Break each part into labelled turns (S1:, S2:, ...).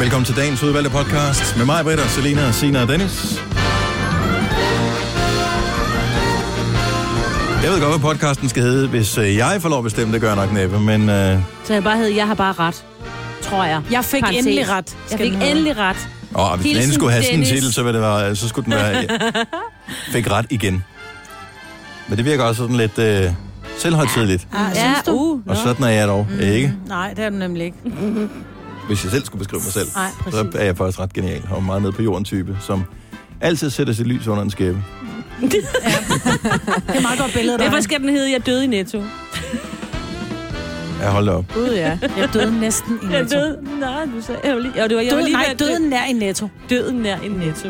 S1: Velkommen til dagens udvalgte podcast med mig, Britta, Selina, Sina og Dennis. Jeg ved godt, hvad podcasten skal hedde. Hvis øh, jeg får lov at bestemme, det gør jeg nok næppe, men øh,
S2: Så jeg bare hed, jeg har bare ret, tror jeg.
S3: Jeg fik
S2: Parenthes.
S3: endelig ret,
S2: Jeg
S3: skal
S2: fik
S3: den hedde.
S2: endelig ret.
S1: åh, hvis den
S2: Hilsen,
S1: endelig skulle have sådan en
S2: Dennis.
S1: titel, så, ville det være, øh, så skulle den være jeg Fik ret igen. Men det virker også sådan lidt øh, selvhøjtidligt.
S3: Ah,
S2: Ja,
S3: synes du?
S2: uh,
S1: Og sådan er jeg dog, mm. ikke?
S3: Nej, det er den nemlig ikke.
S1: Hvis jeg selv skulle beskrive mig selv,
S3: Nej,
S1: så
S3: præcis.
S1: er jeg faktisk ret genial og meget nede på jorden type, som altid sætter sit lys under en skæbe.
S3: Det er et meget godt billede, der
S2: Derfor skal den hedde, jeg døde i Netto.
S1: Jeg holder op.
S3: Gud, ja. Jeg døde næsten i
S2: Jeg
S3: netto.
S2: døde, nej, du sagde, jeg var lige, og det var, jeg var
S3: Død,
S2: lige
S3: nej,
S2: ved-
S3: døden nær i netto.
S2: døden nær i Netto.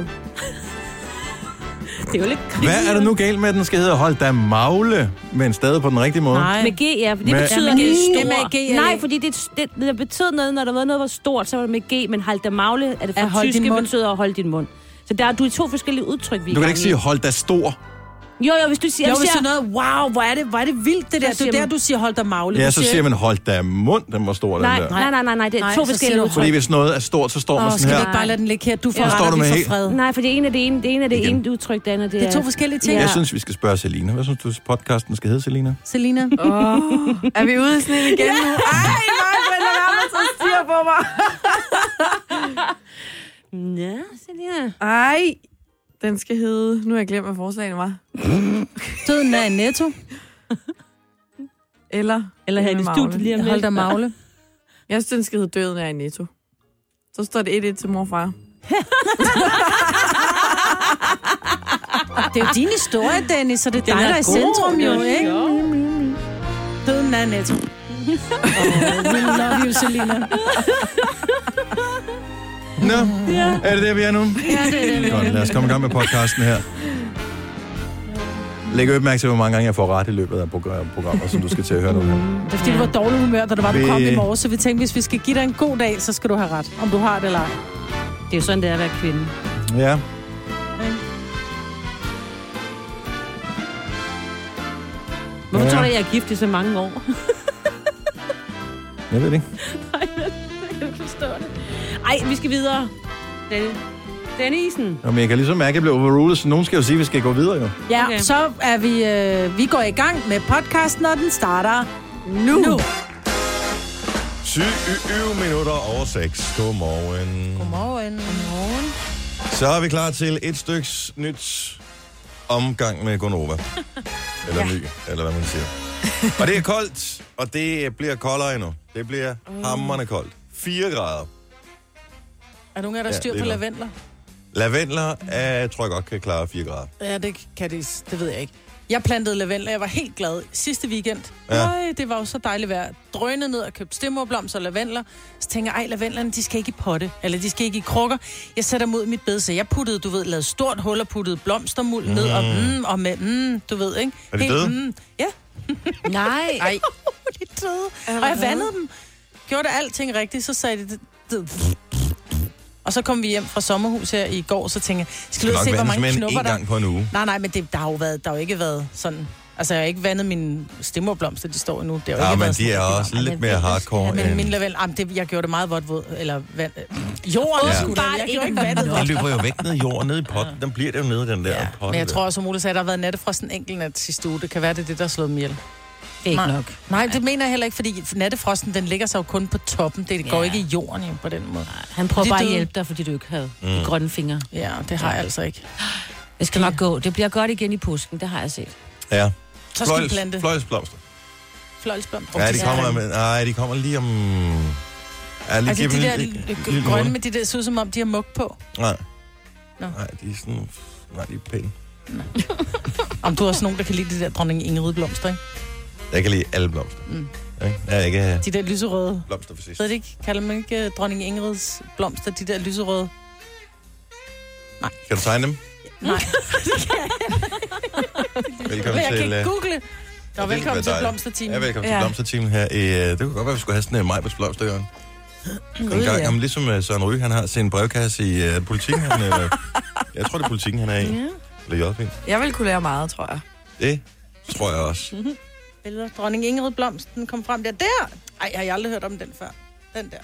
S2: det er jo lidt krig.
S1: Hvad er der nu galt med, at den skal hedde Hold da magle, men stadig på den rigtige måde?
S3: Nej.
S2: Med G, ja, for det
S1: Med-
S2: betyder
S1: Ja,
S3: men
S2: ikke
S3: G-
S2: stor.
S3: det med G er
S2: Nej,
S3: det-
S2: fordi det, det, det betød noget, når der var noget, der var stort, så var det med G, men hold da magle, er det
S3: At
S2: fra
S3: holde din
S2: tyske,
S3: mund.
S2: betyder at holde din mund. Så der er du er i to forskellige udtryk, vi er
S1: Du
S2: i
S1: kan
S2: gang
S1: ikke
S2: i.
S1: sige Hold da stor.
S2: Jo, jo, hvis du siger...
S3: Jo,
S2: hvis
S3: hvis
S2: jeg-
S3: sådan noget, wow, hvor er det, hvor er det vildt, det der. Det
S2: siger
S3: er der,
S2: man-
S3: du siger, hold dig magle.
S1: Ja,
S3: Du
S1: så siger man Hold da mund, den var stor,
S2: Nej,
S1: den der.
S2: nej, nej, nej, nej, det er
S3: Nej,
S2: to
S3: så siger
S2: forskellige
S3: du-
S2: udtryk.
S1: Fordi hvis noget er stort, så står man
S3: Åh, skal
S1: sådan
S3: vi
S1: her.
S3: ikke bare lade den ligge her? Du får
S1: Ja. Står
S3: ret, og
S1: du
S3: vi
S1: med
S3: får
S1: helt-
S3: fred.
S2: Nej, for det ene er det ene, det ene er det
S1: Igen.
S2: ene udtryk, det andet det
S3: Det er to forskellige ting.
S1: Jeg synes, vi skal spørge Selina. Hvad synes du, podcasten skal hedde, Selina?
S3: Selina.
S4: Er vi ude i sådan en igen ja. nu? Ej, nej, men lad være med at tage styr på mig.
S2: Ja, Selina.
S4: Ej, den skal hedde... Nu har jeg glemt, hvad forslagene var.
S3: Døden er i netto.
S4: Eller...
S2: Eller her i
S4: med
S2: det
S4: Magne.
S2: studie lige om
S3: Hold dig
S2: lidt.
S3: magle.
S4: Jeg synes, den skal hedde Døden er i Netto. Så står det 1-1 til mor og far.
S3: Det er jo din historie, Dennis, så det er
S2: Den
S3: dig,
S2: er
S3: der er i
S2: god,
S3: centrum jo,
S2: den er
S3: ikke?
S2: sjov.
S3: Døden er i netto. Oh, we love you, Selina.
S1: Nå, er det der, vi er nu?
S2: Ja, det er det.
S1: Godt, lad os komme i gang med podcasten her. Læg opmærksom til, hvor mange gange jeg får ret i løbet af progr- programmer, som du skal til at høre nu.
S3: Det er fordi, du var dårlig humør, da du var på
S1: Vi-
S3: kom i morges, så vi tænkte, hvis vi skal give dig en god dag, så skal du have ret, om du har det eller ej.
S2: Det er jo sådan, det er at være kvinde.
S1: Ja.
S2: Hvorfor
S1: Ja.
S2: tror du, jeg er gift i så mange år?
S1: Jeg ved det ikke.
S2: Jeg forstår det. Ej, vi skal videre. Den, Dennisen.
S1: Nå, men jeg kan ligesom mærke, at jeg blev overrulet, så nogen skal jo sige, at vi skal gå videre, jo.
S3: Ja,
S2: Okay.
S3: okay. så er vi, øh, vi går i gang med podcasten, og den starter nu. nu.
S1: 20 minutter over 6. Godmorgen.
S3: Godmorgen. Godmorgen.
S1: Så er vi klar til et styks nyt omgang med Gonova. Eller ja. ny, eller hvad man siger. Og det er koldt, og det bliver koldere endnu. Det bliver
S2: Mm.
S1: hammerne koldt. 4 grader.
S3: Er nogen af der
S1: Ja,
S3: styr
S1: det er
S3: på
S1: nok.
S3: lavendler?
S1: Lavendler, jeg tror jeg godt kan klare 4 grader.
S3: Ja, det kan det, det ved jeg ikke. Jeg plantede lavendler, jeg var helt glad sidste weekend.
S1: Ja.
S3: Ja. Øj, det var jo så dejligt vejr. Drønede ned og købte stemmerblomster og lavendler. Så tænker jeg, ej, lavendlerne, de skal ikke i potte, eller de skal ikke i krukker. Jeg sætter mod mit bed, så jeg puttede, du ved, lavede stort hul og puttede blomstermuld mm. ned, og, mm, og med, mm, du ved, ikke?
S1: Er de døde?
S3: Mm, ja,
S2: Nej. Ej.
S3: de er døde. Og jeg vandede dem. Gjorde det alting rigtigt, så sagde de... det- Og så kom vi hjem fra sommerhus her i går, så tænkte jeg, skal vi ud
S1: Det
S3: og
S1: er
S3: se, hvor
S1: nok
S3: mange
S1: vandet
S3: knopper
S1: en
S3: der...
S1: gang på en uge.
S3: Nej, nej, men det, der har jo været, der har jo ikke været sådan... Altså, jeg har ikke vandet mine stemmerblomster, de står endnu. Det har jo
S1: Ja,
S3: ikke
S1: men
S3: været
S1: de er
S3: sådan-
S1: også lidt mere
S3: Ja,
S1: hardcore
S3: men min
S1: end...
S3: lavendel, ah, men det, jeg gjorde det meget vådt våd, eller vand, øh, jorden,
S1: Ja.
S3: ja. skulle
S2: Åbenbart
S3: jeg gjorde
S2: ikke
S3: ikke vandet
S1: Den
S3: vådt.
S1: løber jo væk ned i jorden, ned i potten. Den bliver det jo nede, den der
S3: Ja,
S1: pot.
S3: men jeg tror også, som Ole sagde, at der har været nattefrost en enkelt nat sidste uge. Det kan være, det er det, der har slået dem ihjel.
S2: Det er ikke
S3: Nej.
S2: nok.
S3: Nej, det mener jeg heller ikke, fordi nattefrosten, den ligger sig jo kun på toppen. Det går
S2: Ja.
S3: ikke i jorden jo, på den måde.
S2: Han prøver
S3: De
S2: bare at
S3: døde.
S2: hjælpe dig, fordi du ikke havde
S1: Mm.
S2: de grønne fingre.
S3: Ja, det har jeg altså ikke.
S2: Det skal nok gå. Det bliver godt igen i påsken, det har jeg set.
S1: Ja.
S3: Så skal vi plante
S1: Fløjls, fløjlsblomster.
S3: fløjlsblom.
S1: Ja, de kommer, men, nej, de kommer lige om... Ja, lige
S3: Altså,
S1: giv
S3: de
S1: dem
S3: der
S1: lige- lige- lige
S3: l-
S1: en
S3: grønne
S1: måned.
S3: med de der, ser ud som om, de har mug på.
S1: Nej.
S3: Nå.
S1: Nej, de er sådan... Nej, de er pæne.
S3: Om du er også nogen, der kan lide de der dronning Ingrid blomster, ikke?
S1: Jeg kan lide alle blomster. Mm.
S3: Mm.
S1: Jeg er ikke øh,
S3: De der lyserøde.
S1: blomster for sidst.
S3: Ved det ikke? Kalder man ikke øh, dronning Ingrids blomster, de der lyserøde?
S1: Mm. Kan du tegne dem?
S3: Nej,
S1: Velkommen
S3: men jeg
S1: til...
S3: kan
S1: øh,
S3: ikke google. Nå,
S1: være
S3: velkommen til
S1: dejligt.
S3: blomstertimen.
S1: Ja, velkommen til
S4: Ja.
S1: blomsterteamet her. Øh, Det kunne godt være, vi skulle have sådan en Majbets blomstergang. En
S3: Gud,
S1: gang,
S3: ja.
S1: jamen, ligesom øh, Søren Ryge, han har sin brevkasse i øh, politikken. Han, øh, jeg tror, det er politikken, han er i. Eller JP.
S4: Jeg vil kunne lære meget, tror jeg.
S1: Det tror jeg også.
S3: Billeder. Dronning Ingrid blomsten kom frem der. Der! Ej, har jeg aldrig hørt om den før. Den der.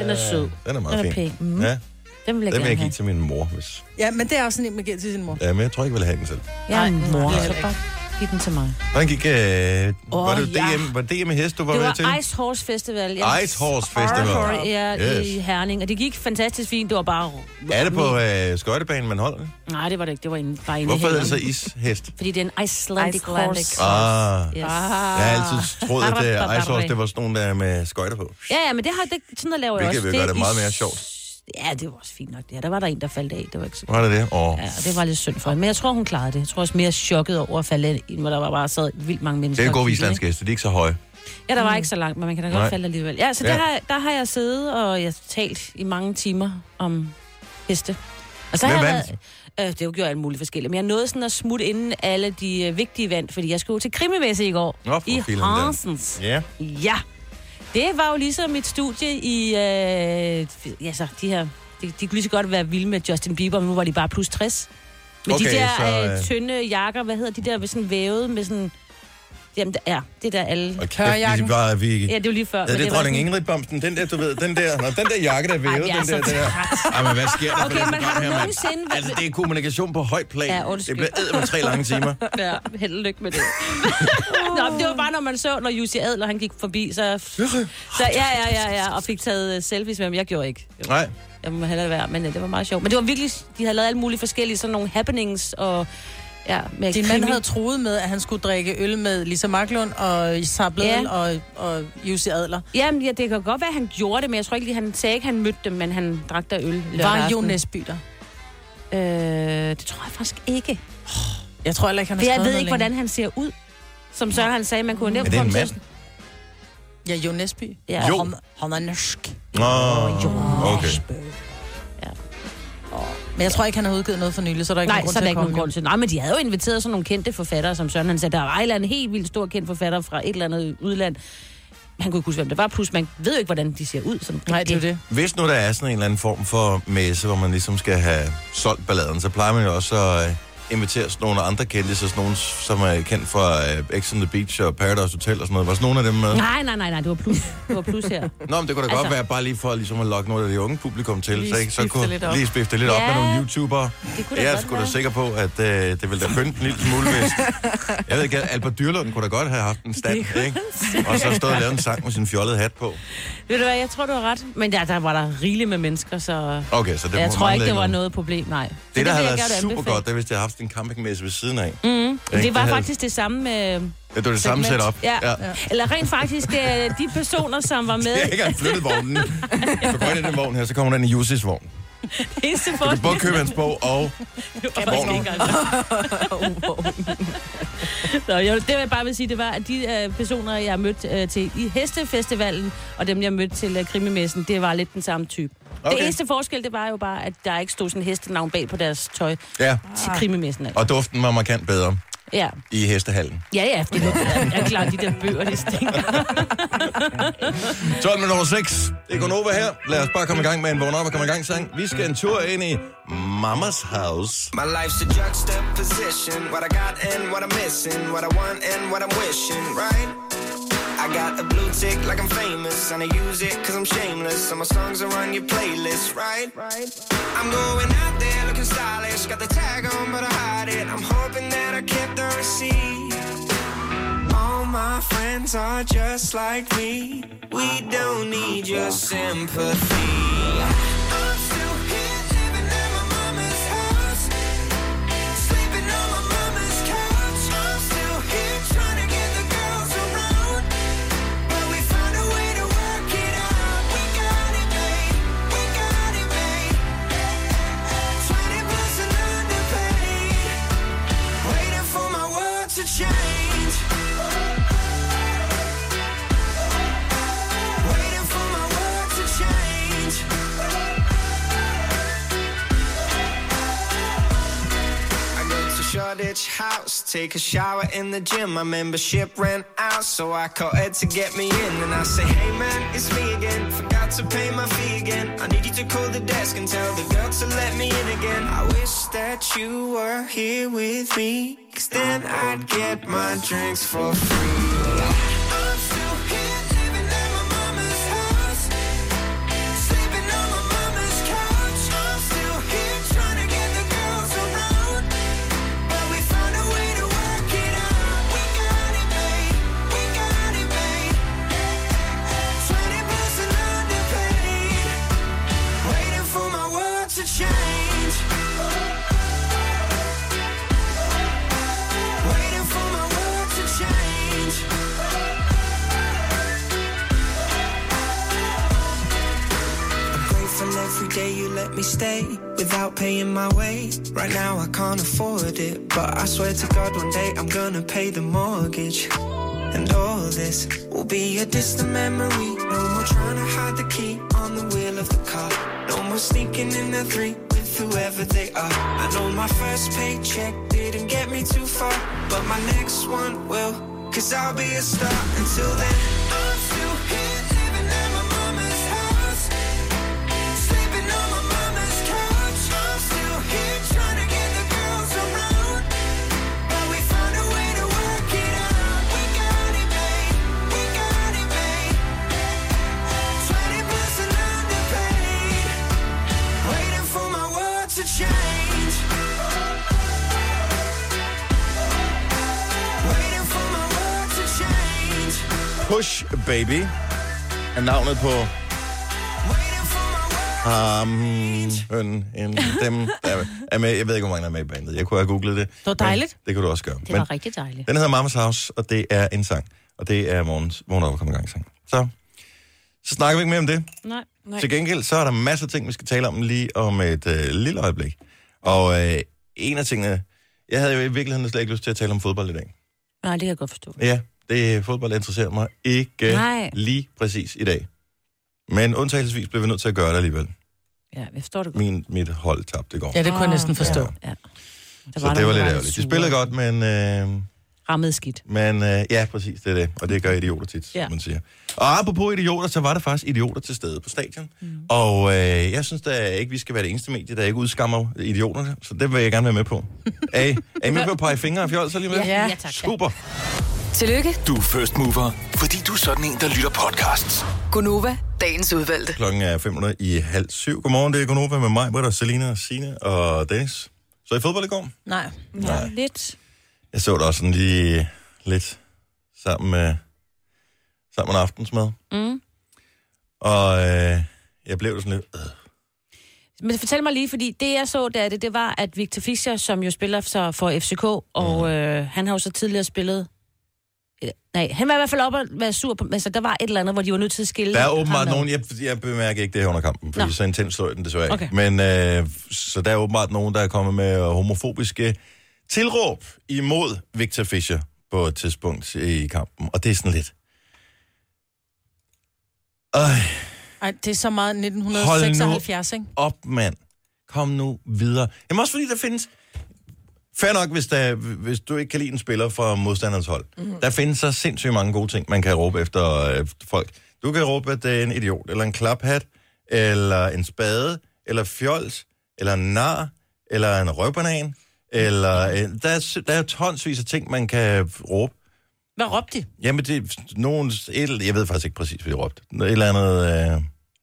S2: Den er sød.
S1: Den er meget
S2: Den er
S1: fin.
S2: pæn. Mhm.
S1: Ja,
S2: Den vil jeg
S1: Øh, den vil
S2: gerne
S1: jeg give
S2: have.
S1: til min mor. Hvis...
S3: Ja, men det er også sådan en, man giver til sin mor.
S1: Ja, men jeg tror ikke, jeg vil have den selv.
S2: Jeg er en mor,
S3: Nej,
S2: så
S3: ikke.
S2: bare giv den til mig.
S1: Hvordan gik... Øh...
S2: Åh,
S1: Oh, var det
S2: ja.
S1: DM, var det DM i hest, du var,
S2: Det
S1: med til?
S2: var Ice Horse Festival. Jeg-
S1: Ice Horse Festival.
S2: Sorry, ja, yes. i
S1: Yes.
S2: Herning. Og det gik fantastisk fint. Det var bare...
S1: Er det på øh, skøjtebanen, man holder det?
S2: Nej, det var det ikke. Det var inde, bare inde i
S1: Hvorfor altså hedder det så
S2: Herning.
S1: ishest?
S2: Fordi det er en Icelandic,
S4: Icelandic
S2: horse.
S1: Ah,
S2: Yes.
S1: jeg har altid troet, at det, Ice Horse, det var sådan nogle der med skøjter på.
S2: Ja, ja, men det har det, sådan noget laver jeg
S1: Hvilket
S2: også.
S1: vil gøre det
S2: er
S1: meget
S2: i-
S1: mere sjovt.
S2: Ja, det var også fint nok. Ja, der var der en, der faldt af. Det var ikke så
S1: Var det det? Åh,
S2: Ja, det var lidt synd for hende. Men jeg tror, hun klarede det. Jeg tror også mere chokket over at falde ind, hvor der var bare sad vildt mange
S1: det
S2: mennesker.
S1: er det
S2: og
S1: gode ved
S2: kiggede,
S1: islandske heste, de er ikke så høje.
S2: ikke? Ja, der var ikke så langt, men man kan da godt
S1: Mm. Nej.
S2: falde alligevel. Ja, så ja.
S1: Ja.
S2: Der, har, der har jeg siddet, og jeg har talt i mange timer om heste. Og så
S1: Hvem
S2: har jeg været- Øh, det gjorde alt muligt forskelligt. Men jeg nåede sådan at smutte inden alle de øh, vigtige vandt, fordi jeg skulle jo til krimimesse i går.
S1: Nå, for
S2: I
S1: filan da.
S2: Hansens.
S1: Ja.
S2: Ja, det var jo ligesom et studie i, øh, ja så, de her, de, de kunne lige så godt være vilde med Justin Bieber, men nu var de bare plus 60. Med
S1: Okay,
S2: de der
S1: så, øh,
S2: øh, tynde jakker, hvad hedder de der, med sådan vævet med sådan, jamen der- ja, det der alle.
S1: Og kæft,
S3: Hørjakken.
S1: vi var, Ligesom vi...
S2: Ja, det var lige før.
S1: Ja,
S2: men
S1: det er
S2: var
S1: dronning
S2: sådan-
S1: Ingrid Bomsen. Den der, du ved, den der, nå, den der jakke, der er vævet,
S2: Ej, jeg er
S1: den der,
S2: så
S1: den der. Ej, men hvad sker der
S2: Okay,
S1: for
S2: men har du nogensinde...
S1: Altså, det er kommunikation på højt plan.
S2: Ja,
S1: det
S2: undskyld.
S1: bliver æd med tre lange timer.
S2: Ja, held og lykke med det. Nå, men det var bare, når man så, når Jussi Adler, han gik forbi, så... så ja, ja, ja, ja, og fik taget øh, selfies med ham. Jeg gjorde ikke.
S1: Nej,
S2: Jeg må hellere være, men øh, det var meget sjovt. Men det var virkelig, de havde lavet alle mulige forskellige sådan nogle happenings og... Ja, med
S3: Din
S2: krimi.
S3: mand havde troet med, at han skulle drikke øl med Lisa Marklund og Isar Bledel
S2: Ja.
S3: og, og øh, Jussi Adler.
S2: Jamen, ja, det kan godt være, at han gjorde det, men jeg tror ikke lige, han sagde ikke, han mødte dem, men han drak der øl lørdag
S3: Var
S2: aften.
S3: Jo Nesby der?
S2: Øh, det tror jeg faktisk ikke.
S3: Jeg tror heller ikke, han har
S2: For jeg
S3: skrevet
S2: ved ikke,
S3: noget
S2: hvordan han ser ud. Som Søren han sagde, man kunne
S1: er
S2: nemt
S1: det en
S2: komme
S1: mand?
S2: til-
S3: længe. Ja, Jo Nesby.
S2: Ja.
S1: Jo.
S3: Og Han, han er norsk.
S1: Nå,
S2: Jo.
S1: okay.
S3: Men jeg tror ikke, han har udgivet noget for nylig, så der er ikke
S2: Nej,
S3: nogen grund
S2: så er
S3: til
S2: der
S3: at
S2: ikke nogen
S3: komme.
S2: grund til. Nej, men de havde jo inviteret sådan nogle kendte forfattere, som Søren han sagde. Der var en eller anden helt vildt stor kendt forfatter fra et eller andet udland. Han kunne ikke huske, hvem det var. Plus, man ved jo ikke, hvordan de ser ud. Sådan.
S3: Nej, det er jo det.
S1: Hvis nu der er sådan en eller anden form for messe, hvor man ligesom skal have solgt balladen, så plejer man jo også at øh, invitere sådan nogle andre kendte, så sådan nogle, som er kendt fra øh, X on the Beach og Paradise Hotel og sådan noget. Var sådan nogle af dem med?
S2: Nej, nej, nej, nej, det var plus. Det var plus her.
S1: Nå, men det kunne da godt
S2: Altså-
S1: være bare lige for ligesom at lokke noget af det unge publikum til.
S3: Lige
S1: så, ikke? så
S3: spifte lidt op.
S1: lige spifte lidt op
S2: Ja.
S1: med nogle YouTubere.
S2: Det kunne da
S1: Jeg er
S2: godt
S1: sgu da
S2: være.
S1: sikker på, at øh, det ville da pynte en lille smule, hvis... Jeg ved ikke, Albert Dyrlund kunne da godt have haft en stand, ikke? Og så stået og lavet en sang med sin fjollede hat på.
S2: Ved du hvad, jeg tror, du har ret. Men der, der var der rigeligt med mennesker, så det
S1: Okay, så det
S2: jeg tror
S1: må-
S2: ikke,
S1: manglede
S2: det var
S1: nogen.
S2: noget problem, nej. Så
S1: Det, der
S2: vil
S1: havde
S2: jeg
S1: været
S2: gerne
S1: super
S2: anbefale.
S1: godt, det er, hvis det havde haft en campingmesse ved siden af.
S2: Men
S1: Ikke?
S2: Mm. det var
S1: havde-
S2: faktisk det samme med...
S1: Ja, det var det samme
S2: segment.
S1: setup.
S2: Ja.
S1: ja.
S2: Eller rent faktisk, øh, de personer, som var med
S1: Jeg har ikke engang flyttet vognen. Så går jeg ind i den vogn her, så kommer den i Jussis vogn.
S2: i eneste
S1: Du
S2: forhold.
S1: kan både købe hans bog og... vognen.
S2: Nå, jo, det jeg bare vil sige, det var, at de øh, personer, jeg mødte øh, til i Hestefestivalen, og dem, jeg mødte til øh, krimimessen, det var lidt den samme type. Okay.
S1: Okay.
S2: Det eneste forskel, det var jo bare, at der ikke stod sådan hestenavn bag på deres tøj
S1: Ja,
S2: til krimimessen. Altså.
S1: og duften var markant bedre
S2: Ja.
S1: i hestehallen.
S2: Ja, ja, det er, er klart, de der bøger, de stinker.
S1: 12 minutter over 6. Det er Gunova her. Lad os bare komme i gang med en vågn op og komme i gang sang. Vi skal en tur ind i Mamas House.
S5: My life's a juxtaposition. What I got and what I'm missing. What I want and what I'm wishing, right? I got a blue tick like I'm famous. And I use it cause I'm shameless. And my songs are on your playlist, right? I'm going out there looking stylish. Got the tag on, but I hide it. I'm hoping that I kept the receipt. All my friends are just like me. We don't need your sympathy. I'm still here living in my mama's house. Sleeping on my mama's couch. I'm still here trying to get the girls around. But we found a way to work it out. We got it made. We got it made. 20 plus and underpaid. Waiting for my world to change. Waiting for my world to change. I go to Shoreditch House, take a shower in the gym. My membership ran out, so I call Ed to get me in. And I say, Hey man, it's me again. Forgot to pay my fee again. I need you to call the desk and tell the girl to let me in again. I wish that you were here with me, cause then I'd get my drinks for free. I'm still here living in my mama's house. day you let me stay without paying my way. Right now I can't afford it, but I swear to God one day I'm gonna pay the mortgage. And all this will be a distant memory. No more trying to hide the key on the wheel of the car. No more sneaking in the three with whoever they are. I know my first paycheck didn't get me too far, but my next one will. Cause I'll be a star until then. I'm still here living in my mama's house. Sleeping on my mama's couch. I'm still here trying to get the girls around. But we found a way to work it out. We got it, babe. We got it, babe. 20 plus and underpaid. Waiting for my world to change. Waiting for my world to change.
S1: Push Baby er navnet på
S5: Waiting for my
S1: um,
S5: world.
S1: høn, en, dem, der er med. Jeg ved ikke, hvor mange der er med i bandet. Jeg kunne have googlet det.
S3: var
S1: men
S3: dejligt.
S1: Det kunne du også gøre.
S2: Det var rigtig dejligt.
S1: Den hedder Mamas House, og det er en sang. Og det er morgens morgen op og komme i gang sang. Så, så snakker vi ikke mere om det.
S2: Nej.
S1: Til gengæld, så er der masser af ting, vi skal tale om lige om et øh, lille øjeblik. Og øh, en af tingene... Jeg havde jo i virkeligheden slet ikke lyst til at tale om fodbold i dag.
S2: Nej, det kan jeg godt forstå.
S1: Ja, det fodbold interesserer mig ikke
S4: Nej.
S1: lige præcis i dag. Men undtagelsesvis blev vi nødt til at gøre det alligevel.
S2: Ja, jeg forstår det godt.
S1: Min, mit hold tabte i går.
S3: Ja, det kunne jeg
S4: Ah,
S3: næsten forstå. Ja.
S2: Ja. Der
S1: Så
S2: nogen,
S1: det var
S2: der
S1: lidt
S2: lidt
S1: ærgerligt. De
S2: sure.
S1: spillede godt, men... Øh,
S2: Rammede skidt.
S1: Men øh, ja, præcis, det er det. Og det gør idioter tit, ja.
S2: Ja.
S1: man siger. Og apropos idioter, så var der faktisk idioter til stede på stadion. Mm. Og øh, jeg synes da ikke, vi skal være det eneste medie, der ikke udskammer idioterne. Så det vil jeg gerne være med på. er, I, er I med på at pege fingre og fjolser lige med?
S2: Ja, ja, tak.
S1: Super.
S6: Tillykke,
S7: Du er first mover, fordi du er sådan en, der lytter podcasts.
S6: Gunova, dagens udvalgte.
S1: Klokken er 500 i halv syv. Godmorgen, det er Gunova med mig, Britt og Selina og Signe og Dennis. Så i fodbold i går?
S3: Nej.
S1: Nej.
S2: Lidt.
S1: Jeg så det også sådan lige lidt sammen med, sammen med en aftensmad.
S2: Mm.
S1: Og øh, jeg blev sådan lidt... Øh,
S2: Men fortæl mig lige, fordi det jeg så der, det, det var, at Victor Fischer, som jo spiller så for FCK,
S1: Mhm.
S2: og øh, han har jo så tidligere spillet... Eller, Nej, han var i hvert fald oppe og være sur på... Altså, der var et eller andet, hvor de var nødt til at skille...
S1: Der er
S2: ham
S1: åbenbart
S2: ad.
S1: nogen, jeg, jeg bemærker ikke det her under kampen, fordi Nå.
S2: Nå.
S1: så intens så jeg den desværre ikke.
S2: Okay.
S1: Men øh, så der er åbenbart nogen, der er kommet med øh, homofobiske tilråb imod Victor Fischer på et tidspunkt i kampen. Og det er sådan lidt... Øj,
S3: Ej, det er så meget
S1: Hold nu
S3: 1976, ikke?
S1: op, mand. Kom nu videre. Jamen også fordi der findes... Fair nok, hvis, der, hvis du ikke kan lide en spiller fra modstanderens hold. Mm. Der findes så sindssygt mange gode ting, man kan råbe efter øh, folk. Du kan råbe, at det er en idiot, eller en klaphat, eller en spade, eller fjols, eller en nar, eller en røvbanan, eller... Øh, der, er, s- der er tonsvis af ting, man kan råbe.
S3: Hvad råbte de?
S1: Jamen, det er nogen... Et, eller- jeg ved faktisk ikke præcis, hvad de råbte. Et eller andet... Øh,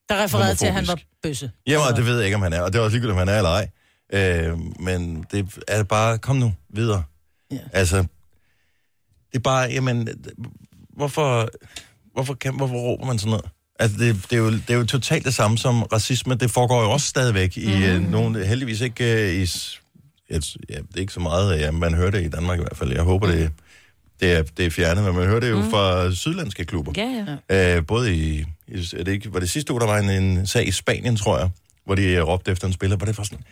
S3: Der refererede til, at han var
S1: Homofobisk.
S3: bøsse.
S1: Jamen, og det ved jeg ikke, om han er, og det er også ligegyldigt, om han er eller ej. Øh, men det er bare, kom nu, videre.
S3: Ja.
S1: Altså, det er bare, jamen, hvorfor, hvorfor, kan, hvorfor råber man sådan noget? Altså, det, det, er jo, det er jo totalt det samme som racisme. Det foregår jo også stadigvæk i mm. øh, nogle, heldigvis ikke øh, i, s- jeg, t- ja, det er ikke så meget, ja, man hører det i Danmark i hvert fald. Jeg håber, det, det, er, det er fjernet, men man hører det jo mm. fra sydlandske klubber.
S2: Ja, ja.
S1: Øh, både i, i er det ikke, var det sidste uge, der var en, en sag i Spanien, tror jeg, hvor de øh, råbte efter en spiller, hvor det var sådan,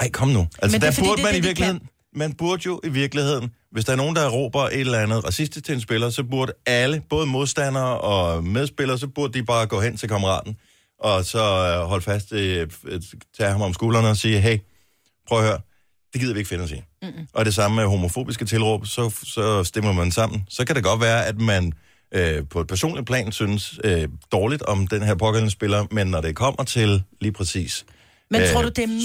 S1: ej, kom nu. Altså,
S3: Men det
S1: der
S3: er fordi,
S1: burde
S3: det er
S1: man
S3: det,
S1: i
S3: de
S1: virkeligheden, man burde jo i virkeligheden, hvis der er nogen, der råber et eller andet racistisk til en spiller, så burde alle, både modstandere og medspillere, så burde de bare gå hen til kammeraten, og så øh, holde fast, øh, øh, tage ham om skuldrene og sige, hey, prøv at høre, det gider vi ikke finde os i. Mm-mm. Og det samme med homofobiske tilråb, så, så stemmer man sammen. Så kan det godt være, at man øh, på et personligt plan synes øh, dårligt om den her pågældende spiller, men når det kommer til lige præcis...
S3: Men
S1: øh,
S3: tror du, det er ment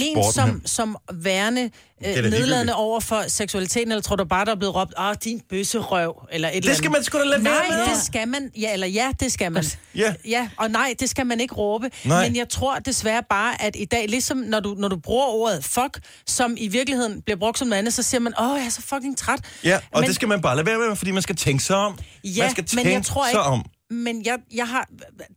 S3: som,
S1: sporten
S3: som værende
S1: er
S3: øh,
S1: da ligegyldigt.
S3: nedladende over for seksualiteten, eller tror du bare, der er blevet råbt, ah, din bøsserøv, eller et eller
S1: Det
S3: andet?
S1: skal man sgu da lade være
S3: Nej,
S1: med. Altså,
S3: det skal man. Ja, eller ja, det skal man.
S1: Ja.
S3: ja og nej, det skal man ikke råbe.
S1: Nej.
S3: Men jeg tror desværre bare, at i dag, ligesom når du, når du bruger ordet fuck, som i virkeligheden bliver brugt som noget andet, så siger man, åh, jeg er så fucking træt.
S1: Ja, og men,
S3: Men-
S1: det skal man bare lade være med, fordi man skal tænke sig om.
S3: Ja,
S1: man skal tænke
S3: men jeg tror ikke-
S1: sig om.
S3: Men jeg, jeg har,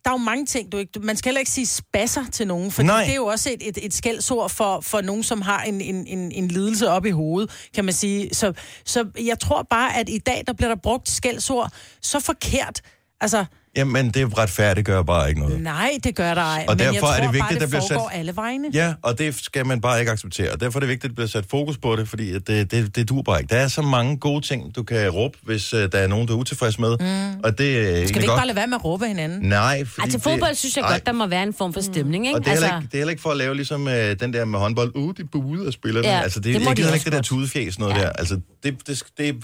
S3: der er jo mange ting, du ikke... du- Man skal heller ikke sige spasser til nogen, for
S1: Nej.
S3: det er jo også et, et, et skældsord for, for nogen, som har en, en, en, en lidelse op i hovedet, kan man sige. Så, så jeg tror bare, at i dag, der bliver der brugt skældsord så forkert. Altså,
S1: Jamen, det retfærdiggør bare ikke noget.
S3: Nej, det gør der ej.
S1: Og
S3: men jeg
S1: derfor
S3: tror
S1: er det vigtigt,
S3: bare,
S1: at der
S3: det
S1: bliver sat-
S3: foregår alle vegne.
S1: Ja, og det skal man bare ikke acceptere. Og derfor er det vigtigt, at der bliver sat fokus på det, fordi at det, det, det duer bare ikke. Der er så mange gode ting, du kan råbe, hvis uh, der er nogen, du er utilfreds med. Mm. Og det er
S3: Skal vi ikke bare lade være med at råbe af hinanden? Altså,
S1: Nej, fordi
S2: Ej, til
S1: det-
S2: fodbold synes jeg
S1: Ej,
S2: godt, der må være en form for
S3: Mm.
S2: stemning, ikke?
S1: Og det er, altså... ikke, det er heller ikke for at lave ligesom øh, den der med håndbold. Uh, de buede og spiller ja,
S2: Ja,
S1: Altså, det,
S2: det
S1: det
S2: må
S1: jeg
S2: de
S1: gider
S2: også
S1: ikke det der
S2: godt.
S1: tudefjes noget ja. der. Altså, det, det, det,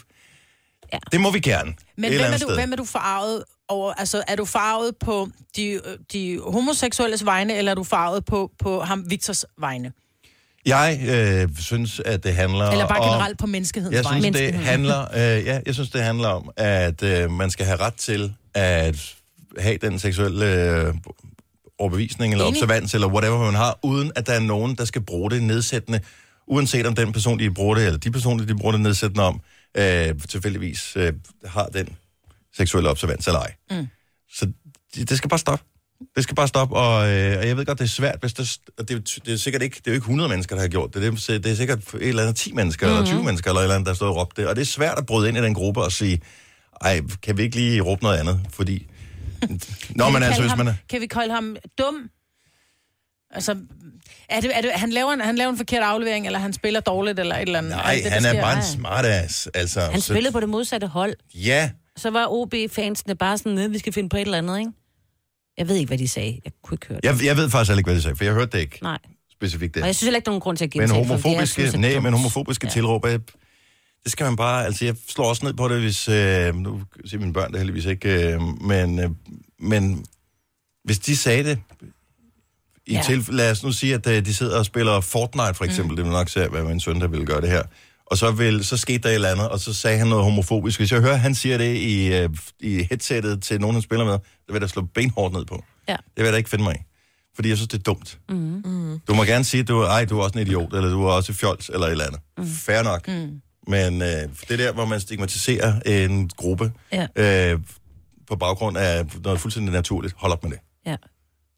S2: Ja.
S1: det må vi gerne.
S3: Men
S1: et eller
S3: hvem er,
S1: andet
S3: du,
S1: sted.
S3: hvem er du farvet over? Altså, er du farvet på de, øh, de homoseksuelles vegne, eller er du farvet på, på ham, Victors vegne?
S1: Jeg øh, synes, at det handler
S3: Eller bare
S1: om...
S3: generelt på menneskehedens
S1: Jeg
S3: vegne?
S1: synes, det
S2: Menneskeheden.
S1: handler, øh, ja, jeg synes, det handler om, at øh, man skal have ret til at have den seksuelle øh, overbevisning eller
S3: Enig.
S1: observans eller whatever man har, uden at der er nogen, der skal bruge det nedsættende, uanset om den person, de bruger det, eller de personer, de bruger det nedsættende om, øh, tilfældigvis øh, har den seksuelle observans eller ej. Mm. Så det, det skal bare stoppe. Det skal bare stoppe, og, øh, og jeg ved godt, det er svært, hvis der, st- og det, er jo- det er sikkert ikke, det er jo ikke 100 mennesker, der har gjort det, det er, det er sikkert et eller andet 10 mennesker, mm-hmm.
S2: Mhm.
S1: eller 20 mennesker, eller et eller andet, der står og råbt det, og det er svært at bryde ind i den gruppe og sige, ej, kan vi ikke lige råbe noget andet, fordi... Nå,
S3: Kan vi
S1: men altså,
S3: kalde
S1: hvis
S3: ham,
S1: man er...
S3: Kan vi kalde ham dum? Altså, er det, er det, han, laver en, han laver en forkert aflevering, eller han spiller dårligt, eller et eller andet?
S1: Nej,
S3: det, der
S1: han er
S3: sker?
S1: bare en
S3: Nej.
S1: smartass, altså.
S2: Han spillede på det modsatte hold.
S1: Ja,
S2: Så var OB-fansene bare sådan, nede, vi skal finde på et eller andet, ikke? Jeg ved ikke, hvad de sagde. Jeg kunne ikke høre det.
S1: jeg, jeg ved faktisk heller ikke, hvad de sagde, for jeg hørte det ikke
S2: Nej.
S1: specifikt det.
S2: Og jeg synes heller ikke, der er nogen grund til at
S1: Men
S2: gentage for det, jeg
S1: homofobiske,
S2: synes er
S1: nej,
S2: dumt.
S1: men homofobiske ja. tilråb, er- det skal man bare, altså jeg slår også ned på det, hvis, øh, nu siger mine børn det heldigvis ikke, øh, men, øh, men hvis de sagde det, i ja.
S3: Ja.
S1: til, lad os nu sige, at øh, de sidder og spiller Fortnite for eksempel, mm. det vil nok se, hvad min søn der ville gøre det her, og så, vil, så skete der et eller andet, og så sagde han noget homofobisk. Hvis jeg hører, han siger det i, øh, i headsettet til nogen, han spiller med, det vil der slå benhårdt ned på.
S2: Ja.
S1: Det vil jeg da ikke finde mig i. Fordi jeg synes, det er dumt. Du må gerne sige, at du, ej, du er også en idiot, eller du er også fjols, eller et eller andet. Mm. Fair nok. Mm. Men øh, det der, hvor man stigmatiserer en gruppe ja. øh, på baggrund af noget fuldstændig naturligt, hold op med det.
S2: Ja.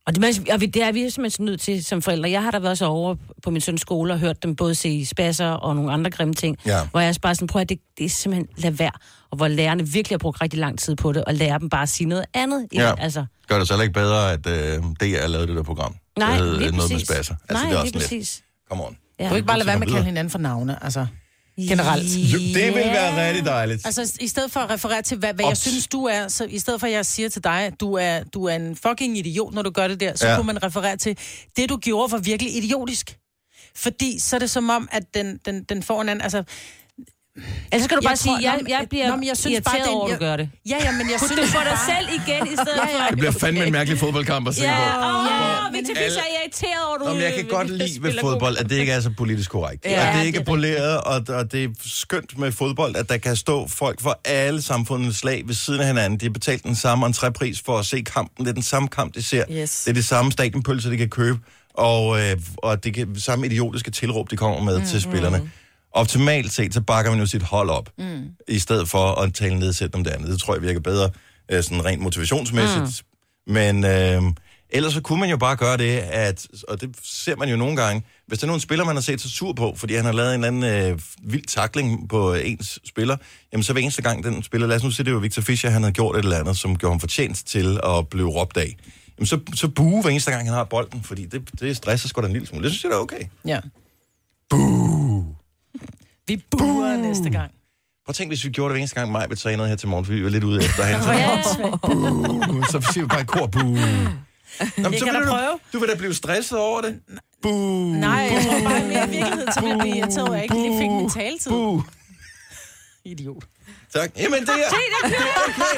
S2: Og det, men- og vi- det er vi simpelthen nødt til som forældre. Jeg har da været så over på min søns skole og hørt dem både se spasser og nogle andre grimme ting.
S1: Ja.
S2: Hvor jeg også bare sådan, prøv at det, det er simpelthen, lad være. Og hvor lærerne virkelig har brugt rigtig lang tid på det, og lærer dem bare at sige noget andet.
S1: Ja.
S2: Altså,
S1: Gør det så heller ikke bedre, at øh, DR lavede det der program?
S2: nej,
S1: det hed, øh,
S2: lige
S1: noget med
S2: præcis.
S1: spasser.
S2: nej,
S1: Altså, det er
S2: lige
S1: også lidt.
S2: præcis.
S1: Come on.
S2: Ja.
S3: Du kan ikke bare lade være med at
S1: Videre.
S3: kalde hinanden for navne, altså generelt.
S1: Jo, det vil være rigtig dejligt.
S3: Altså, i stedet for at referere til, hvad, hvad jeg
S1: Ops.
S3: synes, du er, så i stedet for, at jeg siger til dig, du er, du er en fucking idiot, når du gør det der, så
S1: Ja.
S3: ja. kunne man referere til, det du gjorde var virkelig idiotisk. Fordi så er det som om, at den, den, den får en anden... Altså,
S2: Ellers kan du
S3: Jeg
S2: bare sige,
S3: tror-
S2: jeg,
S3: Nå, men-
S2: jeg bliver
S3: Nå, men jeg synes bare,
S2: irriteret
S3: den-
S2: over, at
S3: jeg-
S2: du gør det.
S3: ja, ja, men jeg
S2: Put
S3: synes
S2: det for dig
S3: bare-
S2: selv igen, i stedet for...
S1: Det bliver fandme en mærkelig fodboldkamp at se
S2: Ja,
S1: på.
S2: åh,
S3: Ja,
S2: ja, Victor Fischer, jeg er irriteret over, at du...
S1: Nå, men jeg kan
S2: øh,
S1: godt lide ved
S2: spiller god
S1: fodbold, at det ikke er så politisk korrekt. Ja,
S2: Ja,
S1: at det
S2: det
S1: ikke er
S2: er
S1: poleret, og, og det er skønt med fodbold, at der kan stå folk fra alle samfundets slag ved siden af hinanden. De har betalt den samme entrépris for at se kampen. Det er den samme kamp, de ser.
S4: Yes.
S1: Det er det samme stadionpølse, de kan købe, og, øh, og det kan, samme idiotiske tilråb, de kommer med mm, til spillerne. Optimalt set, så bakker man jo sit hold op, mm. i stedet for at tale nedsættende om det andet. Det tror jeg virker bedre, øh, sådan rent motivationsmæssigt. Mm. Men øh, ellers så kunne man jo bare gøre det, at, og det ser man jo nogle gange, hvis der er nogen spiller, man har set sig sur på, fordi han har lavet en eller anden øh, vild takling på øh, ens spiller, jamen så hver eneste gang den spiller, lad os nu sige, det var Victor Fischer, han havde gjort et eller andet, som gjorde ham fortjent til at blive råbt af. Jamen så, så buge hver eneste gang, han har bolden, fordi det, det stresser sgu da en lille smule. Det synes jeg da er okay.
S3: Ja. Vi buer næste gang.
S1: Prøv at tænk, hvis vi gjorde det hver eneste gang, mig ville noget her til morgen, fordi vi var lidt ude efter hende.
S2: Ja,
S1: Så, så siger vi bare i kor, buh. Jamen, så
S3: kan
S1: vil
S3: da
S1: du,
S3: prøve.
S1: du vil da blive stresset over det. Buh.
S3: Nej, jeg tror bare, at i virkeligheden, så vil jeg blive irriteret, over, at jeg ikke lige fik min taletid.
S1: Buh.
S3: Idiot.
S1: Tak. Jamen, det er, det er okay.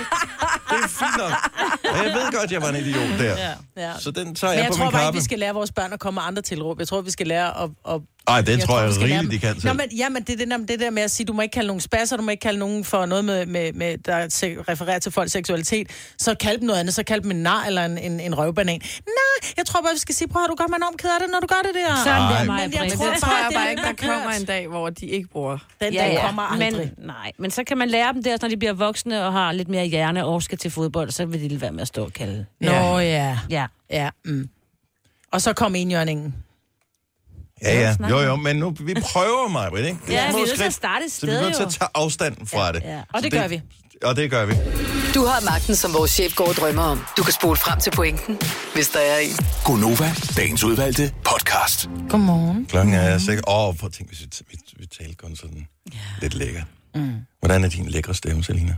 S1: Det er fint nok. Og jeg ved godt, jeg var en idiot der.
S3: Ja.
S1: Så den tager
S3: Men
S1: jeg
S3: jeg
S1: på
S3: tror
S1: min
S3: bare ikke,
S1: kappe.
S3: vi skal lære vores børn at komme med andre tilråb. Jeg tror, vi skal lære at... at
S1: Ej, det tror jeg
S3: vi skal lære
S1: rigeligt,
S3: dem-
S1: de kan selv.
S3: Nå, men, ja, men det er det, der- det der med at sige, du må ikke kalde nogen spasser, du må ikke kalde nogen for noget, med, med, med der se- refererer til folks seksualitet. Så kald dem noget andet, så kald dem en nar eller en, en, en røvbanan. Nej, jeg tror bare, vi skal sige, prøv at du gør mig enormt ked af det, når du gør det der.
S2: Sådan
S1: Ej.
S2: der, mig,
S3: Men jeg
S2: Britt.
S3: tror
S4: Det tror jeg
S3: det er
S4: bare ikke, der
S3: lidt
S4: kommer
S3: kørt.
S4: en dag, hvor de ikke bruger.
S3: Den, ja, ja. kommer aldrig. Men,
S2: Men, nej, men så kan man lære dem det også, når de bliver voksne og har lidt mere hjerne og skal til fodbold, så vil de lige være med at stå og kalde.
S3: Nå ja.
S2: Ja.
S3: ja mm. Og så kom indjørningen.
S1: Ja, ja. Jo, jo, men nu, vi prøver mig, ikke? Det
S2: Ja,
S1: små
S2: vi er nødt til at
S1: skridt.
S2: starte et
S1: Så vi
S2: sted,
S1: er nødt til at
S2: jo.
S1: tage afstand fra det.
S2: ja.
S3: Og
S1: Så
S3: det gør vi.
S1: Og det gør vi.
S6: Du har magten, som vores chef går og drømmer om. Du kan spole frem til pointen, hvis der er en.
S7: Gonova, dagens udvalgte podcast.
S3: Godmorgen.
S1: Klokken er sikkert... Åh, oh, prøv at tænke, hvis vi, vi, vi talte kun sådan ja. lidt lækkert. Mm. Hvordan er din lækre stemme, Selina?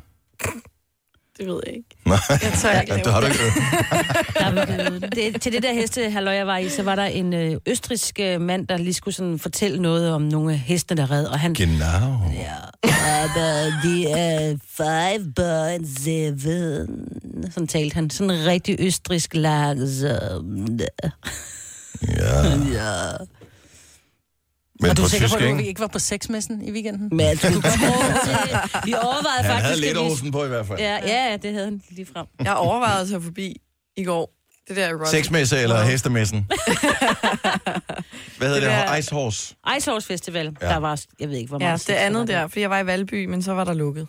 S4: Det ved jeg ikke.
S1: Nej,
S4: Jeg tør ikke
S1: det
S4: lave
S1: har du ikke øvet.
S2: det, til det der heste, halløj, jeg var i, så var der en øh, østrisk øh, mand, der lige skulle sådan fortælle noget om nogle af hestene, der red, og han...
S1: Genau.
S2: Aber de er five point seven. Sådan talte han. Sådan rigtig østrisk langsomt.
S1: Ja. Men
S3: Og du
S1: på
S3: er sikker på,
S1: tysk,
S3: at vi
S1: ikke?
S3: ikke var på sexmessen i weekenden?
S2: Men du Vi overvejede
S1: Han havde
S2: faktisk...
S1: lidt
S2: at vi-
S1: Olsen på i hvert fald. Ja.
S2: Ja, ja, det havde han lige frem.
S4: Jeg overvejede at tage forbi i går. Det der erotic.
S1: Sexmesse eller
S4: Wow.
S1: hestemessen? Hvad
S4: Det
S1: hedder
S4: der-
S1: det? Ice Horse.
S2: Ice Horse Festival,
S1: Ja.
S2: ja. der var... Jeg ved ikke, hvor
S4: Ja,
S2: meget...
S4: det andet der, fordi jeg var i Valby, men så var der lukket.